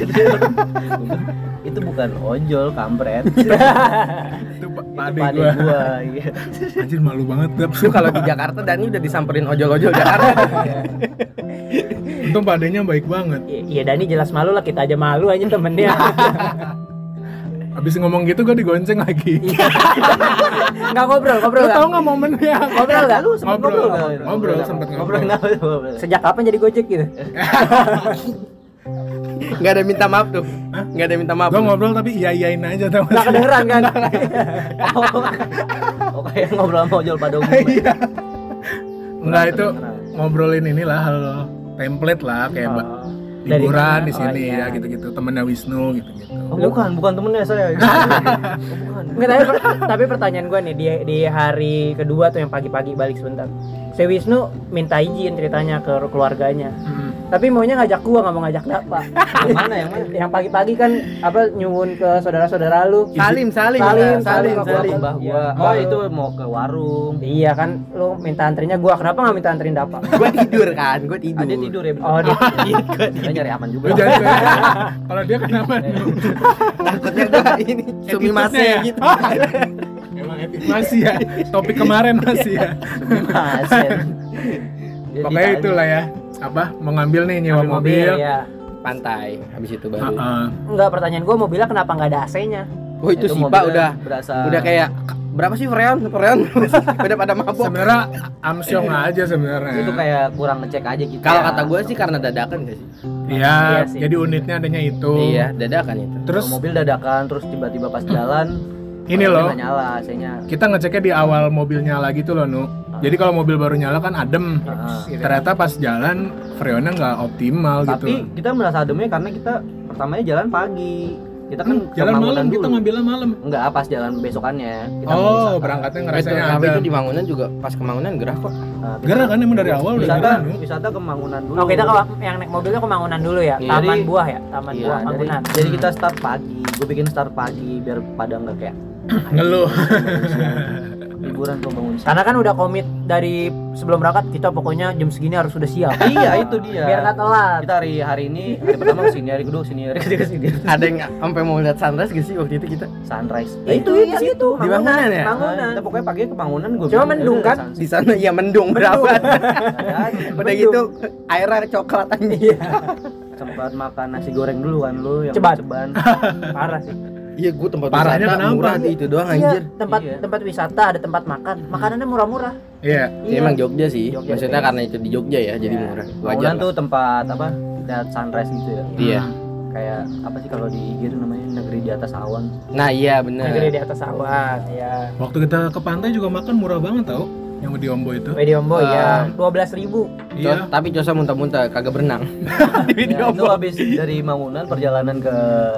itu bukan ojol kampret.
Itu pak
Itu
pade
pade
gue.
gua. Iya.
Anjir malu banget Grab.
Lu kalau di Jakarta Dani udah disamperin ojol-ojol Jakarta.
Untung padenya baik banget.
Iya, Iya Dani jelas malu lah kita aja malu aja temen dia.
Abis ngomong gitu gue digonceng lagi.
Enggak ngobrol, ngobrol
Lu
nggak?
tahu nggak momennya?
Ngobrol nggak?
Lu sempet
Ngobrol,
ngobrol nggak?
ngobrol, sempet
Ngobrol
ngobrol.
kenapa? Ngobrol.
Sejak kapan jadi Gojek gitu?
Enggak ada minta maaf tuh. Enggak ada minta maaf.
Gue ngobrol tapi iya iyain aja tau
Enggak
gak sih?
kedengeran kan?
Oh kayak ngobrol sama ojol pada umumnya.
Iya. Enggak itu ngobrolin inilah hal template lah kayak ba-
Oh. Dari
liburan
mana?
di
Oh,
sini
iya.
ya gitu-gitu temennya Wisnu gitu-gitu.
Oh, bukan, bukan temennya saya. Oh, bukan.
Nggak, tapi, per- tapi pertanyaan gue nih di, di hari kedua tuh yang pagi-pagi balik sebentar. Si Wisnu minta izin ceritanya ke keluarganya.
Hmm.
Tapi maunya ngajak gua nggak mau ngajak Dapa.
Yang mana yang mana?
Yang pagi-pagi kan apa nyuwun ke saudara-saudara lu.
Salim, salim,
gitu. Salim,
salim,
salim,
salim.
Mbah gua.
Iya.
Oh, itu mau ke warung.
Iya kan, lu minta antrinya gua. Kenapa nggak minta antrin Dapa?
Gue tidur kan, gue tidur.
Ah, dia tidur ya.
Oh, dia
Dia nyari aman juga.
Lu jangan kayak- kalau dia kenapa?
Takutnya gue ini sumi masih
Attitude-nya ya?
gitu.
Emang etik masih ya. Topik kemarin masih ya.
Asen. Dia
Pokoknya
ditanya.
itulah ya. Apa mengambil nih nyewa
ambil mobil.
mobil.
iya.
ya.
Pantai, habis itu
Ah,
baru.
ah.
Enggak pertanyaan gua mobilnya kenapa nggak ada AC-nya?
Oh itu, sih
mobilnya
pak udah
berasa
udah kayak berapa sih freon freon udah pada mabok.
Sebenarnya Amsyong aja sebenarnya.
itu kan- kayak kurang ngecek aja gitu.
Kalau
ya.
kata gue sih karena dadakan gak sih?
Iya,
Iya sih.
jadi unitnya adanya itu.
Iya, dadakan itu.
Terus
mobil dadakan terus tiba-tiba pas jalan
ini
mobilnya
loh,
nggak nyala AC-nya.
kita ngeceknya di awal mobilnya lagi tuh loh, Nu. Jadi kalau mobil baru nyala kan adem.
Heeh.
Ternyata pas jalan freonnya nggak optimal
Tapi
gitu.
kita merasa ademnya karena kita pertamanya jalan pagi. Kita kan
Hmm, jalan malam kita ngambilnya malam.
Enggak, pas jalan besokannya. Kita
Oh,
berwisata.
berangkatnya
Itu,
ngerasanya
tapi
ada.
itu di Mangunan juga pas ke Mangunan gerah kok.
Nah, kita-
Gerah kan emang dari awal udah
wisata,
gerah, Nu.
wisata ke Mangunan dulu.
Oh, kita kalau yang naik mobilnya ke Mangunan dulu ya.
Iya.
Taman
Jadi-
buah ya, Taman
Iya,
buah
jadi-
Mangunan.
Jadi,
Hmm.
kita start pagi. Gue bikin start pagi biar pada nggak kayak
Ngeluh.
liburan tuh bangun siang.
Karena kan udah komit dari sebelum berangkat kita pokoknya jam segini harus sudah siap.
iya, itu dia.
Biar nggak telat.
kita hari hari ini hari pertama kesini, hari kedua kesini, hari ketiga kesini.
Ada yang sampai mau lihat sunrise gak sih waktu itu kita?
Sunrise.
Itu
iya,
yang itu
Di Mangunan ya?
Bangunan.
Nah, pokoknya pagi ke Bangunan gue.
Cuma mendung kan?
Di sana ya mendung berapa? Udah
Mendung.
gitu airnya coklat aja.
Sempat makan nasi goreng dulu kan lu yang
Ceban.
ceban.
Parah sih.
Iya, gue tempat
Parahnya
wisata
kenapa?
murah di itu doang anjir.
Iya, tempat
Iya.
tempat wisata ada tempat makan. Makanannya murah-murah.
Iya.
Ya, emang Jogja sih.
Jogja,
Maksudnya
Jogja.
karena itu di Jogja ya, jadi murah. Wajar.
Iya. Bangunan tuh tempat apa? Lihat sunrise gitu ya.
lah. Iya.
Kayak apa sih kalau di IG tuh namanya negeri di atas awan.
Nah, iya bener.
Negeri di atas awan, ya.
Waktu kita ke pantai juga makan murah banget tau yang di Ombo itu.
Mediombo ya,
Eh,
12.000 ribu.
Cos-
Iya.
Tapi Cosa muntah-muntah kagak berenang. Di
Ya, itu
Ombo.
habis dari Mangunan perjalanan ke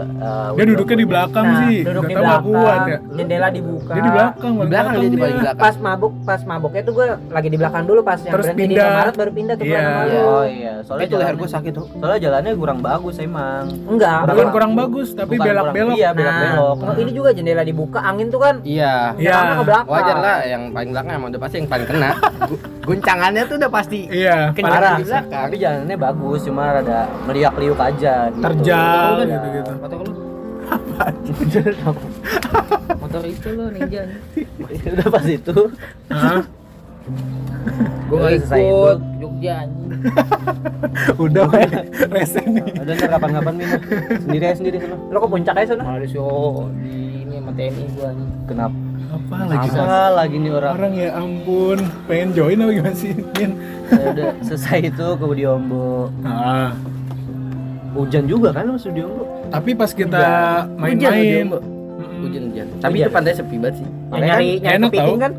eh,
Dia duduknya di belakang sih.
Nah, duduk
Nggak
di
tahu nggak kuat
belakang,
ya.
jendela dibuka.
Dia di belakang,
Di belakang dia di paling belakang.
Pas mabuk, pas mabuknya tuh gue lagi di belakang dulu pas yang
Terus
berhenti
pindah.
di Indomaret baru pindah tuh
Iya.
yeah. sama lu.
Oh iya, soalnya
Itu leher
jalannya-
gue sakit tuh.
Soalnya jalannya kurang bagus emang.
Enggak,
Bukan
belakang.
kurang bagus, tapi
Bukan
belak-belok.
kurang- Iya,
Nah,
belok-belok.
oh, ini juga jendela dibuka, angin tuh kan
Iya.
Iya.
nyerangnya ke belakang.
Wajar lah yang paling belakang emang udah pasti yang paling kena. Gu- Guncangannya tuh udah pasti
Iya.
kencang
Parah.
di belakang.
Tapi jalannya bagus, cuma rada meliak-liuk aja gitu.
Terjal
Udah,
gitu-gitu.
Motor lu.
motor itu lo ninja
udah, udah pas itu.
Hah?
gue
Udah selesai itu.
ikut Jogja anjing
Udah weh, rese nih.
Udah ntar kapan-kapan nih. Mas. Sendiri aja sendiri sana.
Lo ke puncak aja sana.
harus yo di oh, ini sama TNI gua anjing
Kenapa?
Apa lagi?
Apa lagi nih orang?
Orang ya ampun, pengen join apa gimana sih? Min?
Ya udah selesai itu ke Diombo.
Ah,
Hujan juga kan lu di Diombo?
tapi pas kita
Hujan,
main-main,
hujan,
Mm-mm.
hujan, hujan. Tapi
Hujan.
itu pantai sepi banget sih.
Yang nyari
kan
nyari
enak
kepiting
tau.
kan.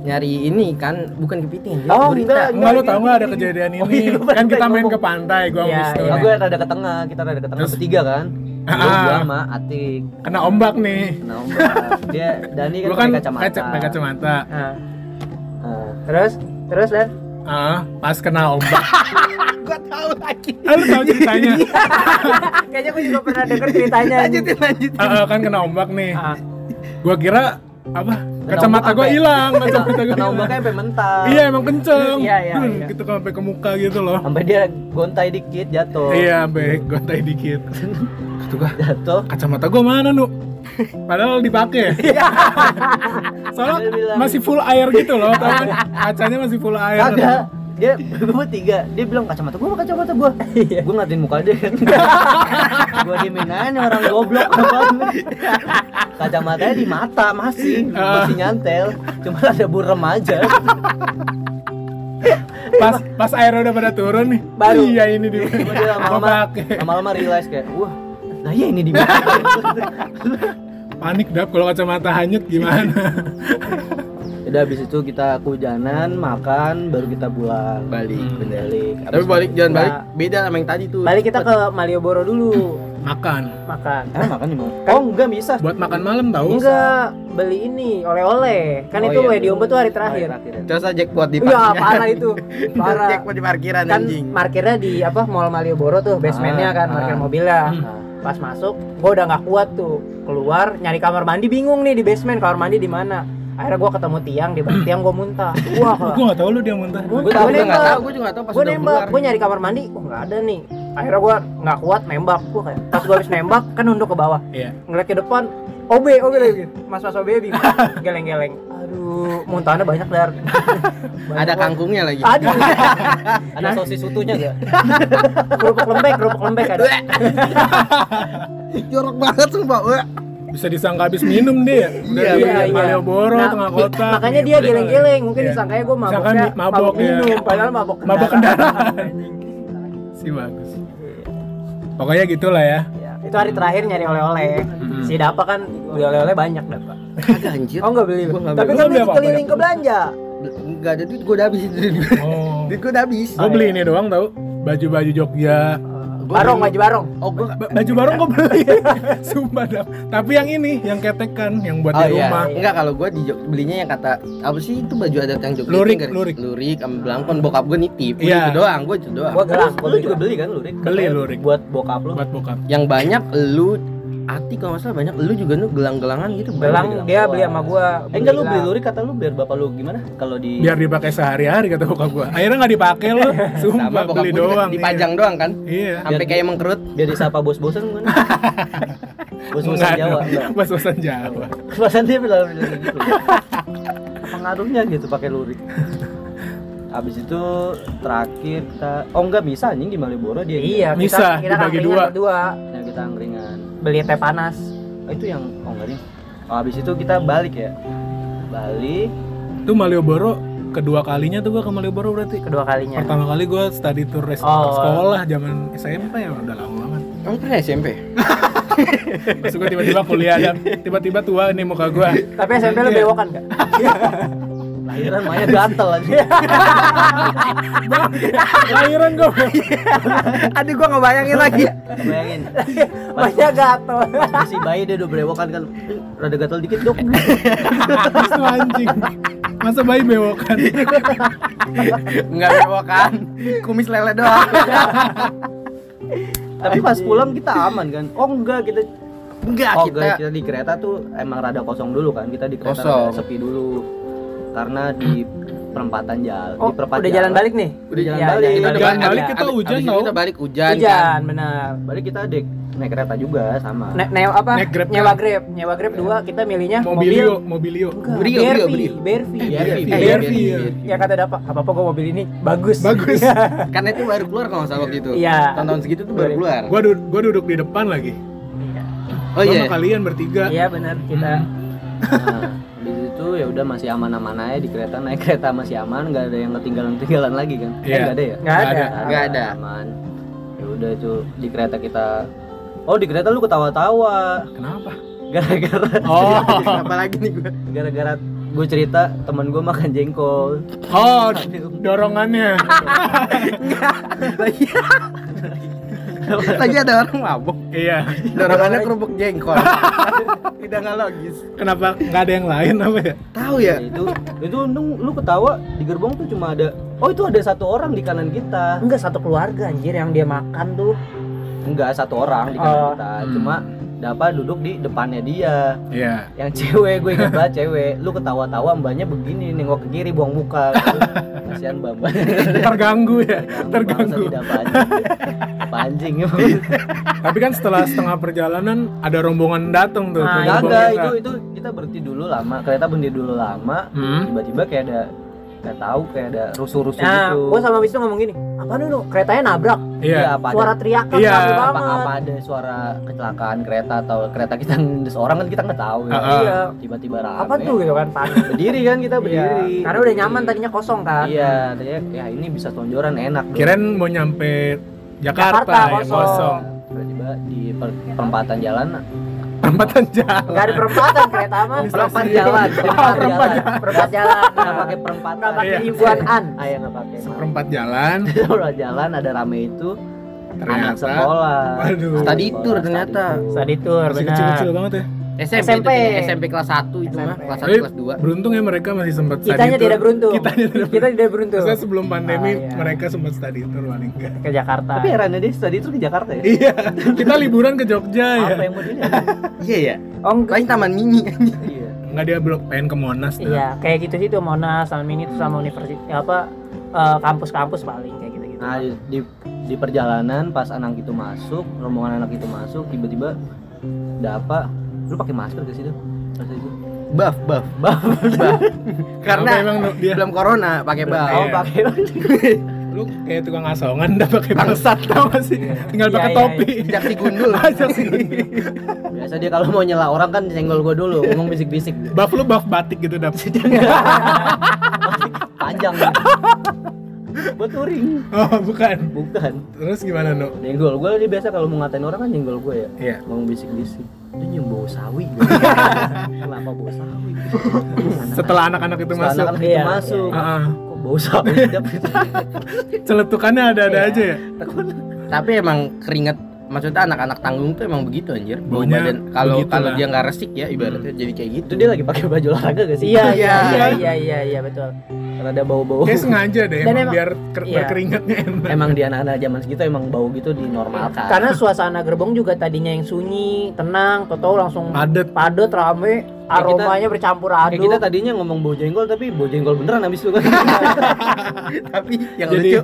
Nyari ini kan bukan kepiting. dia
Oh,
gurita.
enggak.
Enggak lu tau nggak ada kejadian
Oh,
ini?
iya, lu
Kan kita
pantai,
main
gua
ke pantai, gua
Iya,
sama Wisnu
Ya,
nih.
gue rada ke tengah, kita rada ke tengah
Terus-
bertiga kan.
Ah.
Gua gua sama Atik.
Kena ombak nih.
Nah, Mbak. dia Dani kan
Lu kan
pakai kacamata.
kaca- pakai kacamata.
Nah,
Nah,
Ah. terus terus dan
Ah, pas kena ombak.
Gua tahu lagi.
Ah, Lu tahu
Iya,
ceritanya?
Ah, kayaknya gue juga pernah denger ceritanya. anjing.
Lanjutin, lanjutin.
Ah, ah, kan kena ombak nih.
Ah,
Gua kira apa? Kacamata
ombak
gua
apa ya?
hilang, kacamata gua
kena
hilang.
ombaknya sampai mental.
Iya emang kenceng.
Iya, iya,
Dun,
iya.
Gitu kan sampai ke muka gitu loh.
Sampai dia gontai dikit jatuh.
Iya, sampai gontai dikit. Kata gua,
Jatuh.
kacamata gua mana, Nu? Padahal dipakai.
Iya.
Soalnya
Dia bilang-
masih full air gitu loh, tau kan? Kacanya masih full air.
Kagak. Dia gue tiga, dia bilang kacamata gua, kacamata gua. Gua ngatin muka dia kan. gua diemin aja nih orang goblok apaan. Kacamatanya di mata masih,
Ah.
masih nyantel. Cuma ada burem aja.
Pas pas air udah pada turun nih.
Baru.
Iya, ini dia.
Cuma dia
Gua
lama-lama
pakai.
lama-lama realize kayak, wah, nah iya ini di mata.
Panik dap kalau kacamata hanyut gimana?
Ya udah habis itu kita kujanan makan baru kita pulang
balik
Hmm,
bener
balik
tapi balik jangan
Nah.
balik beda sama yang tadi tuh
Balik kita ke Malioboro dulu
makan
makan.
Emang makan di mana? Oh enggak bisa.
buat makan malam tahu
Enggak, beli ini oleh-oleh. Kan
Oh,
itu
iya.
iya. Wediombet tuh hari terakhir.
terus aja jackpot di
Iya,
parkiran
parah itu.
Terus
Parah.
jackpot di parkiran
Kan
anjing
parkirnya di apa Mall Malioboro tuh, basementnya kan,
ah.
parkir mobilnya.
Hmm.
Pas masuk, gua udah nggak kuat tuh. Keluar nyari kamar mandi bingung nih di basement kamar mandi di mana. Akhirnya gua ketemu tiang, di bawah tiang gua muntah. Wah,
Gua nggak tahu lu dia muntah
gue
muntah.
tahu
Gua
gue nggak
nembak.
tahu gue juga nggak tahu pas
Gua
udah
nembak,
keluar
gua nyari kamar mandi, oh nggak ada nih. Akhirnya gua nggak kuat nembak, gua kayak pas gua habis nembak kan nunduk ke bawah.
Iya.
Ngeliat ke depan, OB, OB lagi. Mas Mas OB bingung, geleng-geleng. Aduh, muntahannya banyak dar. Banyak
ada
banget.
kangkungnya lagi
Aduh,
Ada sosis utuhnya enggak?
kerupuk lembek, kerupuk lembek ada.
Iya,
jorok banget sumpah Wah.
bisa disangka habis minum dia udah
Iya,
di
iya, iya.
Malioboro
Nah,
tengah kota
Makanya dia geleng-geleng, mungkin
Iya.
disangkanya gue
Disangka
maboknya
mi- mabok, ya.
minum, padahal mabok
Mabok
kendaraan.
si bagus pokoknya gitulah ya
Iya, Itu hari terakhir nyari oleh-oleh.
Mm-mm.
Si Dapa kan beli oleh-oleh banyak Dapa.
kagak anjir
Oh nggak beli,
Gitu. Gua nggak
tapi
beli.
kan
Lu beli
dia
apa,
keliling
Dap?
ke belanja.
nggak ada duit gue udah habis duit
oh
gue udah habis
gue beli ini doang tau baju-baju Jogja
Gua
Barong,
beli-
baju barong.
oh gue
Ba- baju baru gue beli sumpah dah tapi yang ini yang ketekan yang buat
Oh
Kan di
iya,
rumah
enggak kalau gua di Jog- belinya yang kata apa sih itu baju adat yang Jogja
Lurik,
itu enggak?
lurik.
lurik sama belangkon bokap gua nitip. Udah
Iya.
Itu doang, gua itu doang.
Gua gelang,
Lu juga beli kan lu, Rik?
Beli, lu, Rik.
Buat bokap lu.
buat bokap
Yang banyak lu Ati kalau nggak salah banyak lu juga lu gelang-gelangan gitu banyak
Gelang
gelang.
dia beli sama gua.
Eh enggak lu beli
gelang.
lurik kata lu biar bapak lu gimana? Kalau di
biar dipakai sehari-hari kata bokap gue akhirnya nggak dipakai lu
sama
sumpah
bokap
beli
gua juga
doang
dipajang doang kan
iya
sampai kayak mengkerut
biar disapa bos bosan gimana? Bos-bosan
Enggak
Jawa.
dong.
enggak.
Bos-bosan Jawa.
Perasaan dia bilang bilang gitu. Apa ngaruhnya gitu pakai lurik? Abis itu terakhir kita oh enggak bisa anjing di Malioboro dia.
Iya, kita,
Bisa,
kita
dibagi
angkringan
dua.
berdua.
Nah, kita angkringan.
Beli teh panas.
Oh, itu yang oh enggak nih. Oh, abis itu kita balik ya. Balik
Itu Malioboro kedua kalinya tuh gua ke Malioboro berarti.
kedua kalinya.
Pertama kali gua study tour res-
Oh.
sekolah zaman SMP ya udah lama banget.
kamu pernah ya, SMP
Terus gua tiba-tiba kuliah dan tiba-tiba tua nih muka gua.
Tapi SMP lu
Iya.
bewokan gak?
lahiran Maya gatel aja.
Lahiran gua.
aduh gua ngebayangin lagi
Bayangin. Pas,
Banyak gatel.
pas masih bayi dia udah berewokan kan. Rada gatel dikit dok.
Habis tuh anjing. Masa bayi bewokan.
nggak bewokan kumis lele doang
Tapi pas pulang kita aman kan. Oh enggak kita
Nah,
enggak
oh,
kita
kita... kita di kereta tuh emang rada kosong dulu kan. Kita di kereta
Kosong.
rada sepi dulu. Karena di perempatan jalan,
Oh,
di perempatan
udah jalan balik nih.
Udah jalan
Iya,
balik.
iya,
kita
iya.
udah
Jalan balik
abis-
kita
abis-
hujan
abis itu
tau.
kita balik hujan, kan.
Hujan, benar.
Balik kita dek naik kereta juga sama.
Ne ne apa?
Naik Grab
nyewa
kan?
Grab. Nyewa Grab dua kita milihnya mobil.
Mobilio, mobilio.
Enggak,
Brio,
BRV,
Brio, Brio.
BRV.
Iya,
Iya,
iya,
iya,
iya,
iya,
iya.
iya.
Ya kata dapat apa apa gua mobil ini bagus.
Bagus.
Karena Kan itu baru keluar kalau nggak salah waktu itu
Iya.
tahun-tahun segitu tuh baru keluar
Gua duduk, gua duduk di depan lagi.
oh
Gua
iya
sama kalian bertiga.
Iya benar kita.
Nah, di situ ya udah masih aman-aman aja di kereta naik kereta masih aman nggak ada yang ketinggalan-ketinggalan lagi kan Eh,
Iya.
nggak ada ya
Nggak
Nggak ada.
Nggak ada.
aman ya udah itu di kereta kita oh di kereta lu ketawa-tawa
Kenapa?
gara-gara
Oh.
apa lagi nih gua
gara-gara gue cerita temen gue makan jengkol
Oh, dorongannya.
lagi lagi ada orang mabok
iya.
dorongannya kerupuk jengkol tidak nggak logis
Kenapa nggak ada yang lain apa ya?
tahu ya
Nah, itu itu untung lu ketawa di gerbong tuh cuma ada oh itu ada satu orang di kanan kita
Enggak satu keluarga anjir yang dia makan tuh.
enggak satu orang di kanan
Oh.
kita
Hmm.
cuma dapat duduk di depannya dia
Iya.
yang cewek gue inget banget cewek lu ketawa-tawa mbaknya begini nengok ke kiri buang muka kasihan mbak mbak
Terganggu ya.
Bangsa
Terganggu.
tidak apa anjing apa anjing ya Bang?
Tapi kan setelah setengah perjalanan ada rombongan datang tuh.
Ah,
ke
Enggak,
gerbong
enggak
kita.
Nah, itu itu kita berhenti dulu lama kereta berhenti dulu lama
Hmm.
tiba-tiba kayak ada nggak tahu kayak ada rusuh-rusuh
Nah,
gitu
gua sama Wisnu ngomong gini, apa dulu keretanya nabrak,
Iya.
Ya, apa
suara
ada
teriakan
Iya.
rame
apa,
banget.
apa ada suara kecelakaan kereta atau kereta kita ngendes orang kan kita nggak tahu ya.
Ah, ah.
Iya.
tiba-tiba rame
Apa tuh gitu kan panik.
berdiri kan kita
Iya,
berdiri
Karena udah nyaman tadinya kosong kan.
iya tadinya ya ini bisa tonjoran enak dong.
Kirain mau nyampe Jakarta,
Jakarta,
ya,
kosong.
kosong.
tiba-tiba di per- perempatan jalan
perempatan jalan
Gak ada perempatan kereta mah.
Perempat
jalan,
perempat
perempat jalan. Perempat jalan.
nggak pakai
Nggak
perempatan
pakai
Iya.
ribuan an.
ayah nggak pakai
perempat jalan
Orang jalan ada rame itu anak
ternyata
sekolah
waduh
Tadi tur ternyata.
Tadi tur
masih
benar.
kecil-kecil banget ya
SMP,
SMP.
itu kayaknya, SMP kelas 1 itu mah,
SMP.
kelas
Eh,
1 kelas 2.
beruntung ya mereka masih sempat study
Kitanya
tour.
tidak beruntung.
kita tidak
Kita
beruntung
tidak beruntung.
Maksudnya sebelum pandemi
Ah, iya.
mereka sempat study tour paling enggak
Ke Jakarta.
tapi herannya dia tadi itu ke Jakarta ya
iya kita liburan ke Jogja ya
apa yang mau dilihat
Iya ya.
Oh, enggak.
Lain taman mini kan.
iya
nggak dia blok pengen ke Monas dah.
Iya, kayak gitu situ Monas, Taman Mini tuh sama universitas apa eh, kampus-kampus paling kayak gitu-gitu.
Nah, di, di, di perjalanan pas anak itu masuk, rombongan anak itu masuk, tiba-tiba ada apa? Lu pakai masker ke situ? Pas itu.
Buff, buff, buff. Karena
karena emang nu- dia
belum corona pakai buff.
Iya.
Oh, pakai.
lu kayak tukang asongan udah pakai bangsat tau gak sih tinggal
Iya,
pakai
iya,
topi
Jaksi gundul.
aja sih
Biasa dia kalau mau nyela orang kan senggol gua dulu, ngomong bisik-bisik.
buff lu buff batik gitu dap
Panjang. Buat touring.
oh bukan
Bukan.
terus gimana nu
Nyenggol gua dia biasa kalau mau ngatain orang kan nyenggol gua ya.
iya
Ngomong bisik-bisik. Dia nyium bau sawi.
Iya.
gua. Kenapa bau sawi?
setelah anak-anak itu masuk Ah.
Setelah anak-anak
Iya,
itu
iya.
masuk.
Heeh.
Kok bau sawi? Dap?
celetukannya ada-ada
Iya.
aja ya
Tapi emang keringet maksudnya anak-anak tanggung tuh emang begitu anjir. Bau
Baunya
badan kalau
begitu
kalau
lah.
dia nggak resik ya ibaratnya jadi kayak gitu.
Itu dia lagi pakai baju olahraga gak sih?
Iya, iya,
Iya.
iya, iya, iya, iya, betul.
Karena ada bau-bau.
kayak sengaja deh Oh.
Dan
emang,
emang-
biar ker-
iya.
berkeringatnya enak
emang di anak-anak zaman segitu emang bau gitu dinormalkan
Karena suasana gerbong juga tadinya yang sunyi, tenang, toto langsung
padet
padat, rame, aromanya bercampur
kayak kita
aduk.
tadinya ngomong bau jenggol tapi bau jenggol beneran habis itu kan
Tapi yang
Jadi-
lucu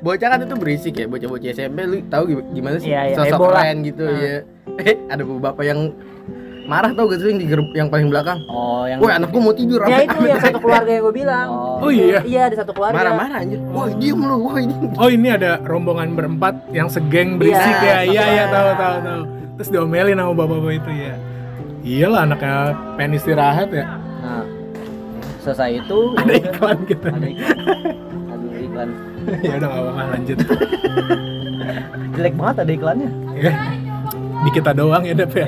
bocah kan itu berisik ya, bocah-bocah SMP lu tahu gi- gimana sih?
Iya, iya,
Sosok
heboh lah.
keren gitu
Nah.
ya. Eh, ada bapak yang marah tau gak sih yang di gerb- yang paling belakang?
oh yang
Woi, anakku mau tidur.
Ya
rame-
itu yang satu keluarga yang gue bilang.
oh,
Oh, iya?
Iya, ada satu keluarga.
Marah-marah anjir. Woi, diem lu. Woi, diem.
oh ini ada rombongan berempat yang segeng berisik
Iya,
ya iya iya
iya.
tahu tahu tahu terus diomelin sama bapak-bapak itu ya iyalah anaknya pengen istirahat ya
nah selesai itu ya
ada
udah.
iklan gitu
ada iklan aduh iklan
ya udah gak apa-apa lanjut
jelek banget ada iklannya
ya di kita doang ya Dap ya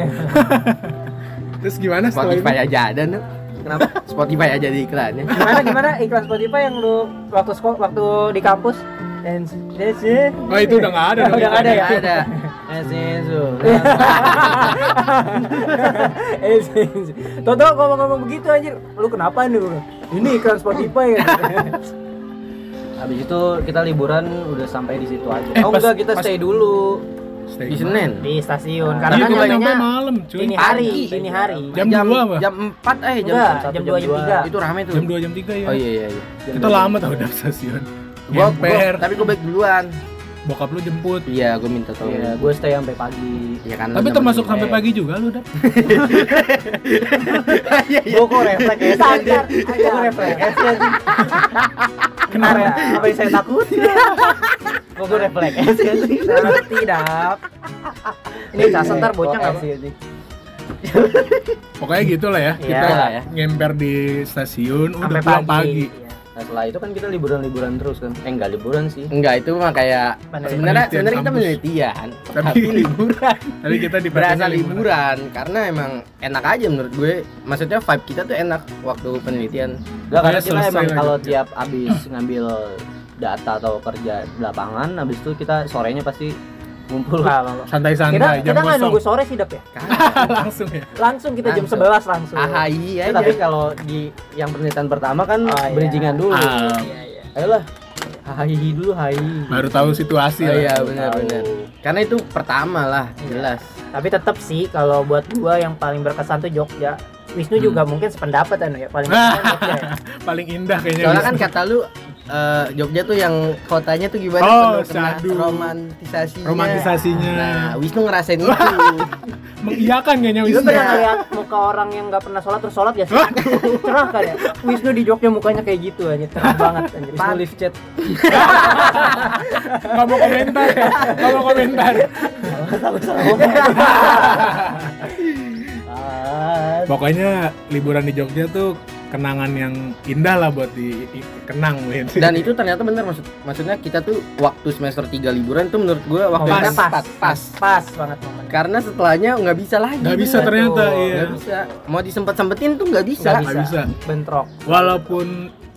terus gimana setelah itu
Spotify aja ada Nuk. Kenapa? Spotify aja di iklannya.
Gimana gimana iklan Spotify yang lu waktu sko- waktu di kampus? Dan that's it.
oh itu udah gak ada dong
Udah nggak ada ya?
Nggak ada.
Esensu
Eh, Toto ngomong-ngomong begitu anjir, lu kenapa nih? Bro? Ini iklan Spotify ya.
habis itu kita liburan udah sampai di situ aja
Eh,
oh
pas-
enggak kita
pas-
stay dulu
Stay
Di
gimana?
Senin.
Di stasiun
Iya,
karena kan
kita nyampe
nyampenya
malam cuy
ini hari,
Pagi.
ini hari.
jam, 2 apa?
Jam 4 eh jam
Enggak,
satu,
Iya, jam
jam
2 jam
dua.
3.
itu rame tuh.
jam 2 jam 3 ya
Oh iya iya iya.
Jam
kita
dua.
lama tau udah stasiun
Gua,
Emper,
gua, tapi gua baik duluan.
bokap lu jemput
Iya, gua minta
Oh.
Iya,
tolong.
gue stay sampai pagi.
Iya kan.
tapi
lu
termasuk
temen
sampai
gue.
pagi juga lu Dap
Iya iya.
Gue kok refleks ya?
Standar,
Gue refleks ya?
kenapa?
Apa yang saya takuti? Kok gue refleks ya?
Nanti dap. Ini
Iya,
cas ntar bocah enggak sih?
pokoknya gitu lah ya kita
Iya lah ya.
ngemper di stasiun udah
Sampai
pulang
pagi. Iya.
pagi,
Nah setelah itu kan kita liburan-liburan terus kan? Eh nggak liburan sih.
Enggak, itu mah kayak
Penelitian
sebenarnya sebenarnya kita
kampus.
penelitian,
tapi liburan tapi kita di
berasa liburan karena emang enak aja menurut gue. Maksudnya vibe kita tuh enak waktu penelitian.
Gak karena
Iya,
kita
selesai
emang
lah
kalau
gitu.
tiap abis ngambil data atau kerja di lapangan, abis itu kita sorenya pasti ngumpul.
Enggak, enggak, enggak. Kita
santai-santai jam
kita nggak
kosong
nunggu sore sih dap ya.
langsung ya
Langsung kita jam
Langsung.
11 langsung.
AHI
Iya,
Ya,
aja.
tapi kalau di yang penelitian pertama kan
Oh, iya.
berijingan dulu.
Ah,
Iya, iya.
Ayolah, hahihi dulu hai.
baru tahu situasi
Oh,
lah.
iya benar-benar. Karena itu pertama lah,
Iya.
jelas.
Tapi tetap sih kalau buat gua yang paling berkesan tuh Jogja. Wisnu juga mungkin sependapat anu ya paling berkesan Jogja. ya.
paling indah kayaknya
Soalnya
Wisnu.
kan kata lu eh, Jogja tuh yang kotanya tuh gimana
Oh,
penuh kena
syahdu.
romantisasinya.
romantisasinya
Nah, Wisnu ngerasain itu.
mengiyakan kayaknya
Lu
Wisnu
pernah ngeliat muka orang yang nggak pernah sholat terus sholat ya sih? Cerah kan ya? Wisnu di Jogja mukanya kayak gitu aja, cerah banget anjir.
Wisnu live chat.
nggak mau komentar ya nggak mau komentar
Ah,
pokoknya liburan di Jogja tuh kenangan yang indah lah buat dikenang Win.
Dan itu ternyata bener maksud maksudnya kita tuh waktu semester 3 liburan tuh menurut gua
Oh,
waktu
Momennya
yang
pas.
tepat, pas. Kan.
pas banget momen
Karena setelahnya nggak bisa lagi.
nggak bisa
bener.
ternyata
Betul.
iya.
Nggak bisa. Mau disempet-sempetin tuh nggak bisa.
Nggak
Nggak bisa.
bentrok
Walaupun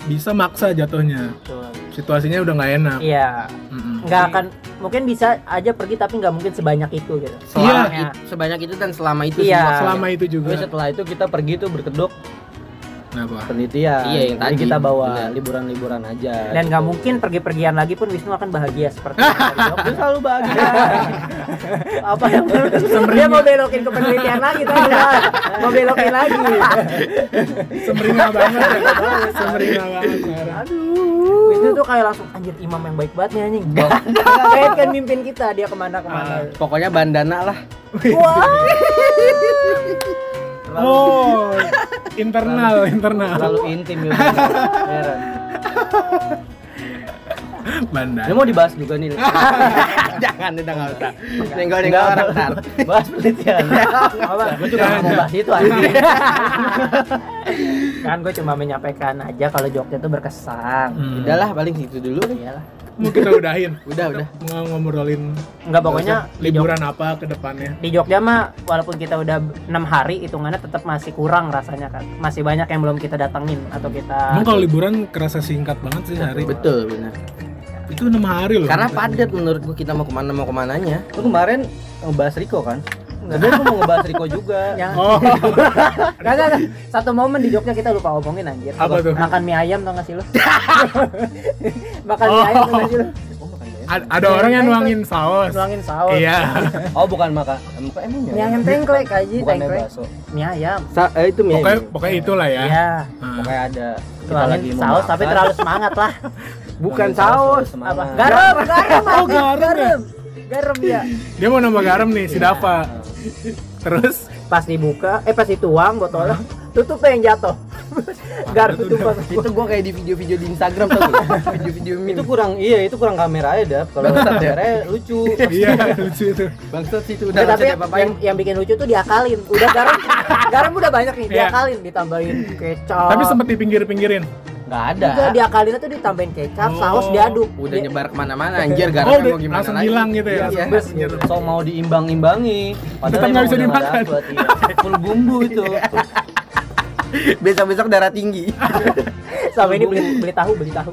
bisa maksa jatuhnya.
betul.
Situasinya udah nggak enak.
iya
Mm-mm.
nggak akan mungkin bisa aja pergi tapi nggak mungkin sebanyak itu gitu
Selama
Iya.
itu- sebanyak itu dan selama itu
Iya.
semua.
Selama itu
Tapi
juga.
setelah itu kita pergi tuh berkedok
Kenapa?
penelitian.
Iya, yang
Jadi
tadi.
kita bawa
Benar.
liburan-liburan aja.
dan nggak mungkin pergi-pergian lagi pun Wisnu akan bahagia seperti yang tadi bilang. Dia selalu bahagia apa yang dia mau belokin ke penelitian lagi tadi Bang. mau belokin lagi
Semeringah banget ya. Semeringah banget. parah.
Aduh.
Wisnu tuh kayak langsung anjir imam yang baik banget nih anjing kayak kan mimpin kita dia
Ah.
kemana-kemana
Pokoknya bandana lah.
wah
Oh, internal, internal.
terlalu intim ya. Heran.
Bandar.
Ini mau dibahas juga nih.
Jangan kan udah nggak usah. Nyenggol-nyenggol orang tar.
Bahas penelitian.
apa gue
Iya,
juga nggak mau bahas itu anjing kan gue cuma menyampaikan aja kalau joknya tuh berkesan
Hmm.
Udah lah paling situ dulu deh.
Iyalah.
Mau kita udahin.
Udah udah.
Mau ngobrolin
nggak pokoknya di Jog-
liburan apa ke depannya.
di Jogja mah walaupun kita udah enam hari hitungannya tetap masih kurang rasanya kan masih banyak yang belum kita datengin atau kita
Emang kalau liburan kerasa singkat banget sih hari.
Betul benar.
Itu enam hari loh.
Karena padat menurut gua kita mau kemana mau kemananya.
Lu kemarin ngebahas Riko kan? Sebenernya gua mau ngebahas Riko juga.
Ya.
Oh,
Nggak, nggak, nggak. satu momen di Jogja kita lupa omongin anjir
Apa tuh?
makan mie ayam tau gak sih lo makan mie ayam tau gak sih lo
Oh, makan mie ayam.
ad- ada orang yang nuangin saus.
nuangin saus
Iya.
Oh, bukan makan. Emang emang ya?
mie ayam tengklek aja
Bukan mie
tengklek
bakso.
mie ayam
Sa eh, itu mie.
Pokoknya pokoknya itulah ya.
iya
Nah,
Pokoknya ada kita
nuangin
lagi mau
saus tapi
makan.
terlalu semangat lah
Bukan
Nuangin
saus.
terlalu
apa
semangat.
garam garam
Oh,
anjing,
garam ya?
garam garam ya
Dia mau nambah garam nih si
Iya.
Dava. Terus
pas dibuka eh pas dituang botolnya tutup yang jatuh garam
Tutup.
tutup
Itu gua kayak di video-video di Instagram tuh. Video-video meme.
Itu kurang iya, itu kurang kamera ya, Dap. Kalau
Bangsat ya?
kameranya lucu.
iya lucu itu.
Bangsat sih itu udah
Udah,
nggak
tapi
usah
yang,
diapa-apain.
yang- yang bikin lucu tuh diakalin. Udah garam, garam udah banyak nih,
Iya.
diakalin, ditambahin kecap.
Oh.
Tapi sempet di pinggir-pinggirin.
Enggak ada.
juga diakalin tuh ditambahin kecap,
Oh,
saus diaduk.
Udah
Di-
nyebar kemana-mana anjir garam
Oh,
mau
udah
gimana
langsung
lagi.
hilang gitu ya.
Iya.
Langsung hilang.
So mau diimbang-imbangi,
Tetap
padahal
nggak
emang
bisa
udah nggak
dimakan.
dapet, iya. Full bumbu itu.
Besok-besok darah tinggi.
Sama ini beli beli tahu, beli tahu.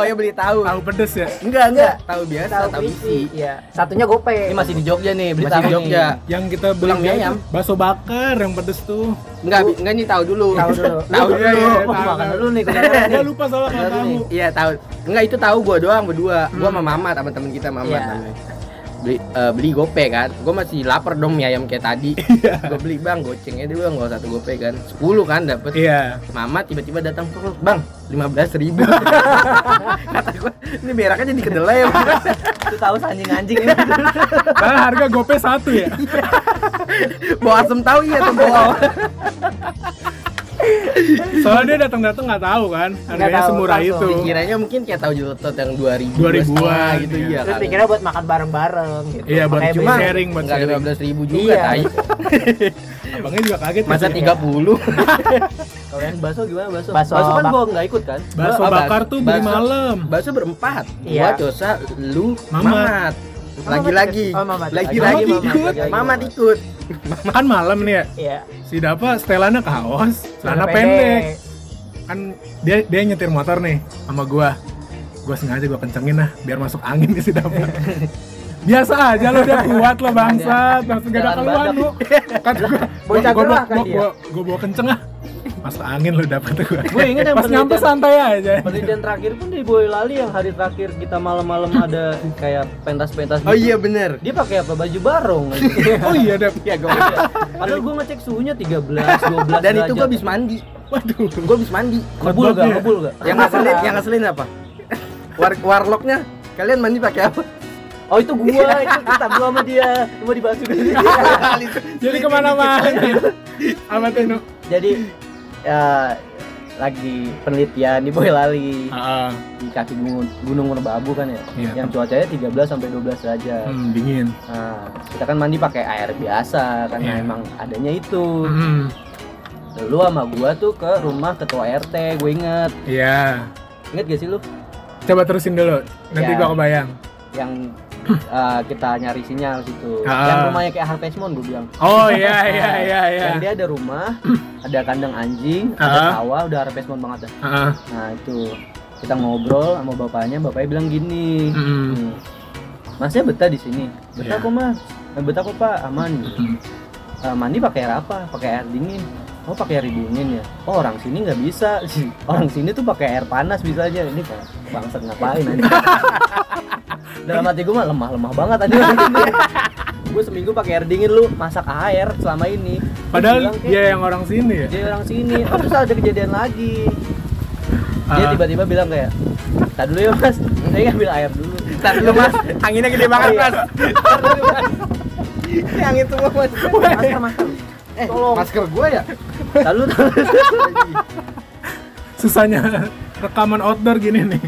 Oh ya beli tahu.
Tahu pedes ya.
Enggak, enggak. Tahu biasa,
Tahu
tahu
isi.
isi.
Iya. Satunya gope.
Ini masih di Jogja nih, beli
Masih
tahu
Jogja.
nih.
Yang kita beli
Tulang mie ayam.
bakso bakar yang pedes tuh.
Enggak, bi- enggak nih tahu dulu.
Tahu dulu.
Tahu Oh,
Iya,
dulu.
iya,
Wah,
tahu,
makan
tahu.
dulu nih, kedengeran nih.
Gua lupa soalnya nggak
Bener
tahu.
nih.
Iya, tahu. Enggak itu tahu gua doang berdua. Gua sama Mamat sama temen kita Mamat
Hmm. Iya.
namanya. Beli eh, beli gope kan. Gua masih lapar dong mie ayam kayak tadi.
Iya.
Gua beli, "Bang, gocengnya dulu enggak satu gope kan." 10 kan dapet
Iya.
Mamat tiba-tiba datang tuh, "Bang, 15 ribu Kata gua, "Ini beraknya jadi kedelai." ya, Bang."
Itu tahu anjing-anjing ini.
Padahal harga gope satu ya.
Bawa asem tahu iya tuh bawa.
Soalnya dia datang-datang nggak tahu kan. Harganya
tahu,
semurah
langsung
itu.
Pikirannya mungkin kayak tahu jelotot yang 2000
2000-an,
setengah gitu
iya.
iya.
Terus
kali.
pikirnya buat makan bareng-bareng gitu.
Iya, buat
Makanya
cuma
beli-
sharing, buat
Enggak
sharing.
15 ribu juga,
Iya.
tai.
Abangnya juga kaget.
Masa
ya.
30?
Kalau yang bakso gimana bakso?
Bakso
kan
bak-
gua nggak ikut kan?
Bakso
Ah, bas-
bakar tuh beli
bakso.
malam.
Bakso berempat.
Iya.
Gua Cosa, lu,
Mamat.
Mamat. Lagi-lagi.
Oh, Mamat.
Lagi-lagi.
Mamat ikut.
Mamat, Mamat ikut.
Makan malam nih ya.
Iya.
Si Dapa setelannya kaos, celana
celana
pendek. Kan dia dia nyetir motor nih sama gua. Gua sengaja gua kencengin lah biar masuk angin nih si Dapa. Biasa aja lo udah kuat lo bangsat, langsung gak ada
Jalan
keluhan
badak.
lu. Kan gua gua
Bocah
gua,
gerah kan
gua-
dia.
gua- gua bawa kenceng ah. Masuk angin lo dapet gua.
Gue inget yang
Pas nyampe
penelitian,
santai aja.
penelitian terakhir pun di Boyolali yang hari terakhir kita malam-malam ada kayak pentas-pentas
Oh
gitu.
iya bener.
Dia pakai apa? Baju barong. anjing.
Oh iya Dap.
Iya, gua.
Padahal gue ngecek suhunya 13, 12
Dan itu gua
gue
habis mandi.
Waduh.
Gua habis mandi.
Ngebul gak?
Kebabnya.
Ngebul gak?
Yang ngeselin, yang ngeselin apa? War warlocknya kalian mandi pakai apa?
Oh itu gua, itu kita gua sama dia Mau dibahas juga
Jadi kemana-mana. Apa tuh Nu?
Jadi ya, lagi penelitian di Boyolali
Ah, ah.
di kaki gunung Gunung Merbabu kan ya,
Iya.
yang cuacanya 13 sampai 12 derajat.
Hmm, dingin.
Nah, kita kan mandi pakai air biasa karena
Iya.
emang adanya itu.
Hmm.
lu sama gua tuh ke rumah ketua RT gue inget
Iya.
inget gak sih lu
Coba terusin dulu. Nanti
Ya.
gua kebayang.
yang eh, kita nyari sinyal
Hmm.
situ
Ah.
yang rumahnya kayak Harvest Moon gue bilang
Oh iya iya iya iya. Hmm.
yang dia ada rumah ada kandang anjing
Ah.
ada sawah udah Harvest Moon banget dah
Heeh.
nah itu kita ngobrol sama bapaknya bapaknya bilang gini
Mm-mm.
Hmm. Masnya betah di sini? Betah
Iya.
kok mas. Eh, Betah kok pak, aman.
Mm.
Eh, mandi pakai air apa? Pakai air dingin. Oh pakai air dingin ya? Oh orang sini nggak bisa. Orang sini tuh pakai air panas bisa aja. Ini Pak, bangsat ngapain aja? Dalam hati gue mah lemah-lemah banget aja. gue seminggu pakai air dingin lu masak air selama ini. Terus
Padahal
bilang, "Kek,
dia yang orang sini ya.
dia orang sini. Oh, terus ada kejadian lagi. Dia
Ah.
tiba-tiba bilang kayak, tak dulu ya mas, saya ngambil air dulu. Iya.
Ntar dulu mas, anginnya gede banget mas. Ini angin semua mas.
Masker, masker.
Eh,
Tolong.
masker gua ya.
Lalu
Susahnya rekaman outdoor gini nih.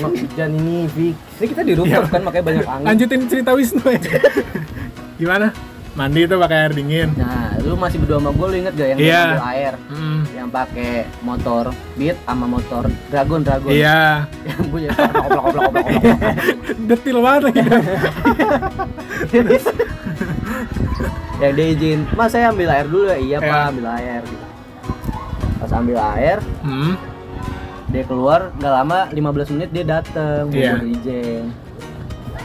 Emang hujan Eh, ini, Vic. Ini kita di
Iya.
rooftop kan makanya banyak angin.
Lanjutin cerita Wisnu ya. Gimana? Mandi itu pakai air dingin.
Nah, lu masih berdua sama gue, lu inget gak yang
Iya.
ngambil air?
Mm.
Yang pakai motor Beat sama motor Dragon Dragon.
Iya.
Yang punya suara oblak oblak oblak oblak.
Detil banget lagi.
yang dia izin, "Mas, saya ambil air dulu ya." "Iya,
Iya.
Pak, ambil air." Gitu. Pas ambil air,
Hmm.
dia keluar nggak lama 15 menit dia dateng
Iya.
yeah. izin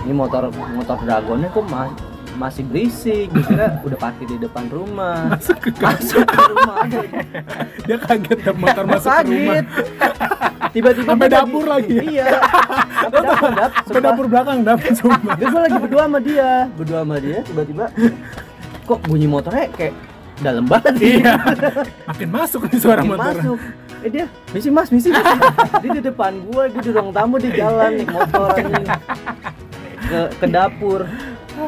ini motor motor dragonnya kok ma- masih berisik gue kira udah parkir di depan rumah
Masuk ke
masuk ke rumah
Dia kaget dan motor masuk ke rumah.
Kaget. tiba-tiba
Sampai
dia lagi-
dapur lagi.
iya sampai dapur dap
Ke dapur belakang dapur sumpah.
gue lagi berdua sama dia berdua sama dia tiba-tiba kok bunyi motornya kayak dalam banget
iya. Makin masuk nih suara
Dia
motor.
masuk eh dia misi mas misi misi." dia di depan gua dia di ruang tamu di jalan naik motor anjing. ke ke dapur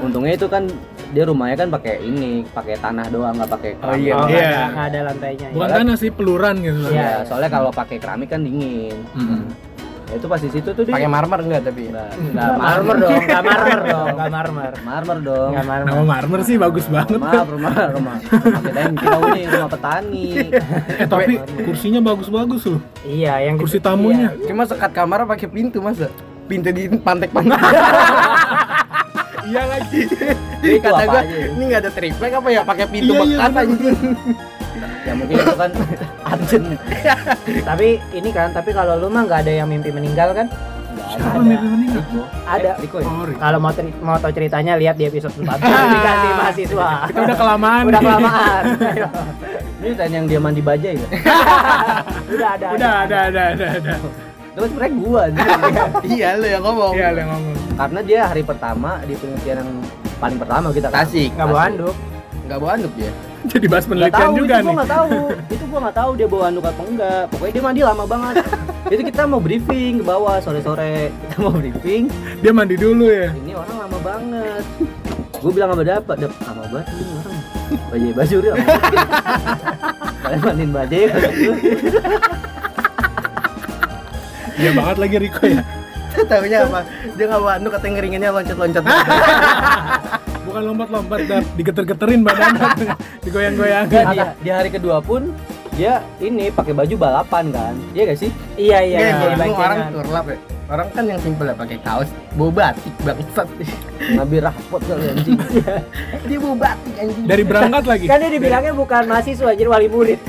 untungnya itu kan dia rumahnya kan pakai ini pakai tanah doang nggak pakai
Oh,
keramik.
iya.
Oh, nggak
Iya.
ada, nggak ada lantainya.
Bukan tanah sih peluran gitu.
Iya.
Ya, soalnya kalau pakai keramik kan dingin
Mm.
Ya, itu pas di situ tuh dia
Pakai marmer enggak tapi?
nggak
Gak
nggak
marmer dong, gak marmer dong, gak marmer.
marmer dong
Gak marmer.
Nama marmer sih bagus banget. Eh,
maaf rumah rumah rumah kita yang kita ini rumah petani
Eh tapi kursinya bagus-bagus loh.
Iya, yang
Kursi tamunya.
Cuma sekat kamar pakai pintu mas. Pintu di pantek-pantek.
Iya lagi.
Jadi
Itu
kata
apa
gua,
aja?
ini nggak ada triplek apa ya? Pakai pintu
Iya, iya,
bekas
bener.
anjing.
ya mungkin itu kan urgent
Tapi ini kan, tapi kalau lu mah nggak ada yang mimpi meninggal kan?
Nggak
Siapa
ada.
mimpi meninggal?
Riko.
Ada.
Eh, Riko ya?
Sorry.
Kalau mau teri- mau tahu ceritanya lihat di episode 4 Dikasih mahasiswa.
Kita udah kelamaan.
Udah
nih.
kelamaan. Ayo.
Ini tanya yang dia mandi bajai ya?
Udah ada.
Udah, Iya, ada, ada, ada, ada.
Itu kan sebenernya gua anjing.
Iya lu yang ngomong.
Iya, lo yang ngomong.
Karena dia hari pertama di penelitian yang paling pertama kita kan
Tasik.
Nggak bawa anduk.
Nggak ya. bawa anduk dia.
Jadi bahas
Nggak
penelitian
tahu,
juga
itu gua
nih.
nggak tahu Itu gua nggak tahu dia bawa anduk apa enggak Pokoknya dia mandi lama banget Itu kita mau briefing ke bawah sore-sore Kita mau briefing
Dia mandi dulu ya.
Ini orang lama banget Gua bilang sama dapat Dap, lama banget ini orang Bajai bajuri lama banget." Kalian mandiin bajai
Iya banget lagi Riko ya.
Tahunya apa? Dia nggak bawa anduk katanya ngeringinnya loncat-loncat.
Bukan lompat-lompat, Dap. digeter-geterin badan, digoyang-goyangan.
di, di hari kedua pun dia ini pakai baju balapan kan Iya gak sih?
Iya, iya.
Iya,
iya,
jadi bingung
bancengan.
orang turlap ya. Orang kan yang simpel ya pakai kaos, bawa batik bangsat.
Ngambil rapot kali anjing
Iya.
Dia bawa batik anjing.
Dari berangkat lagi.
Kan dia dibilangnya bukan mahasiswa, jadi wali murid.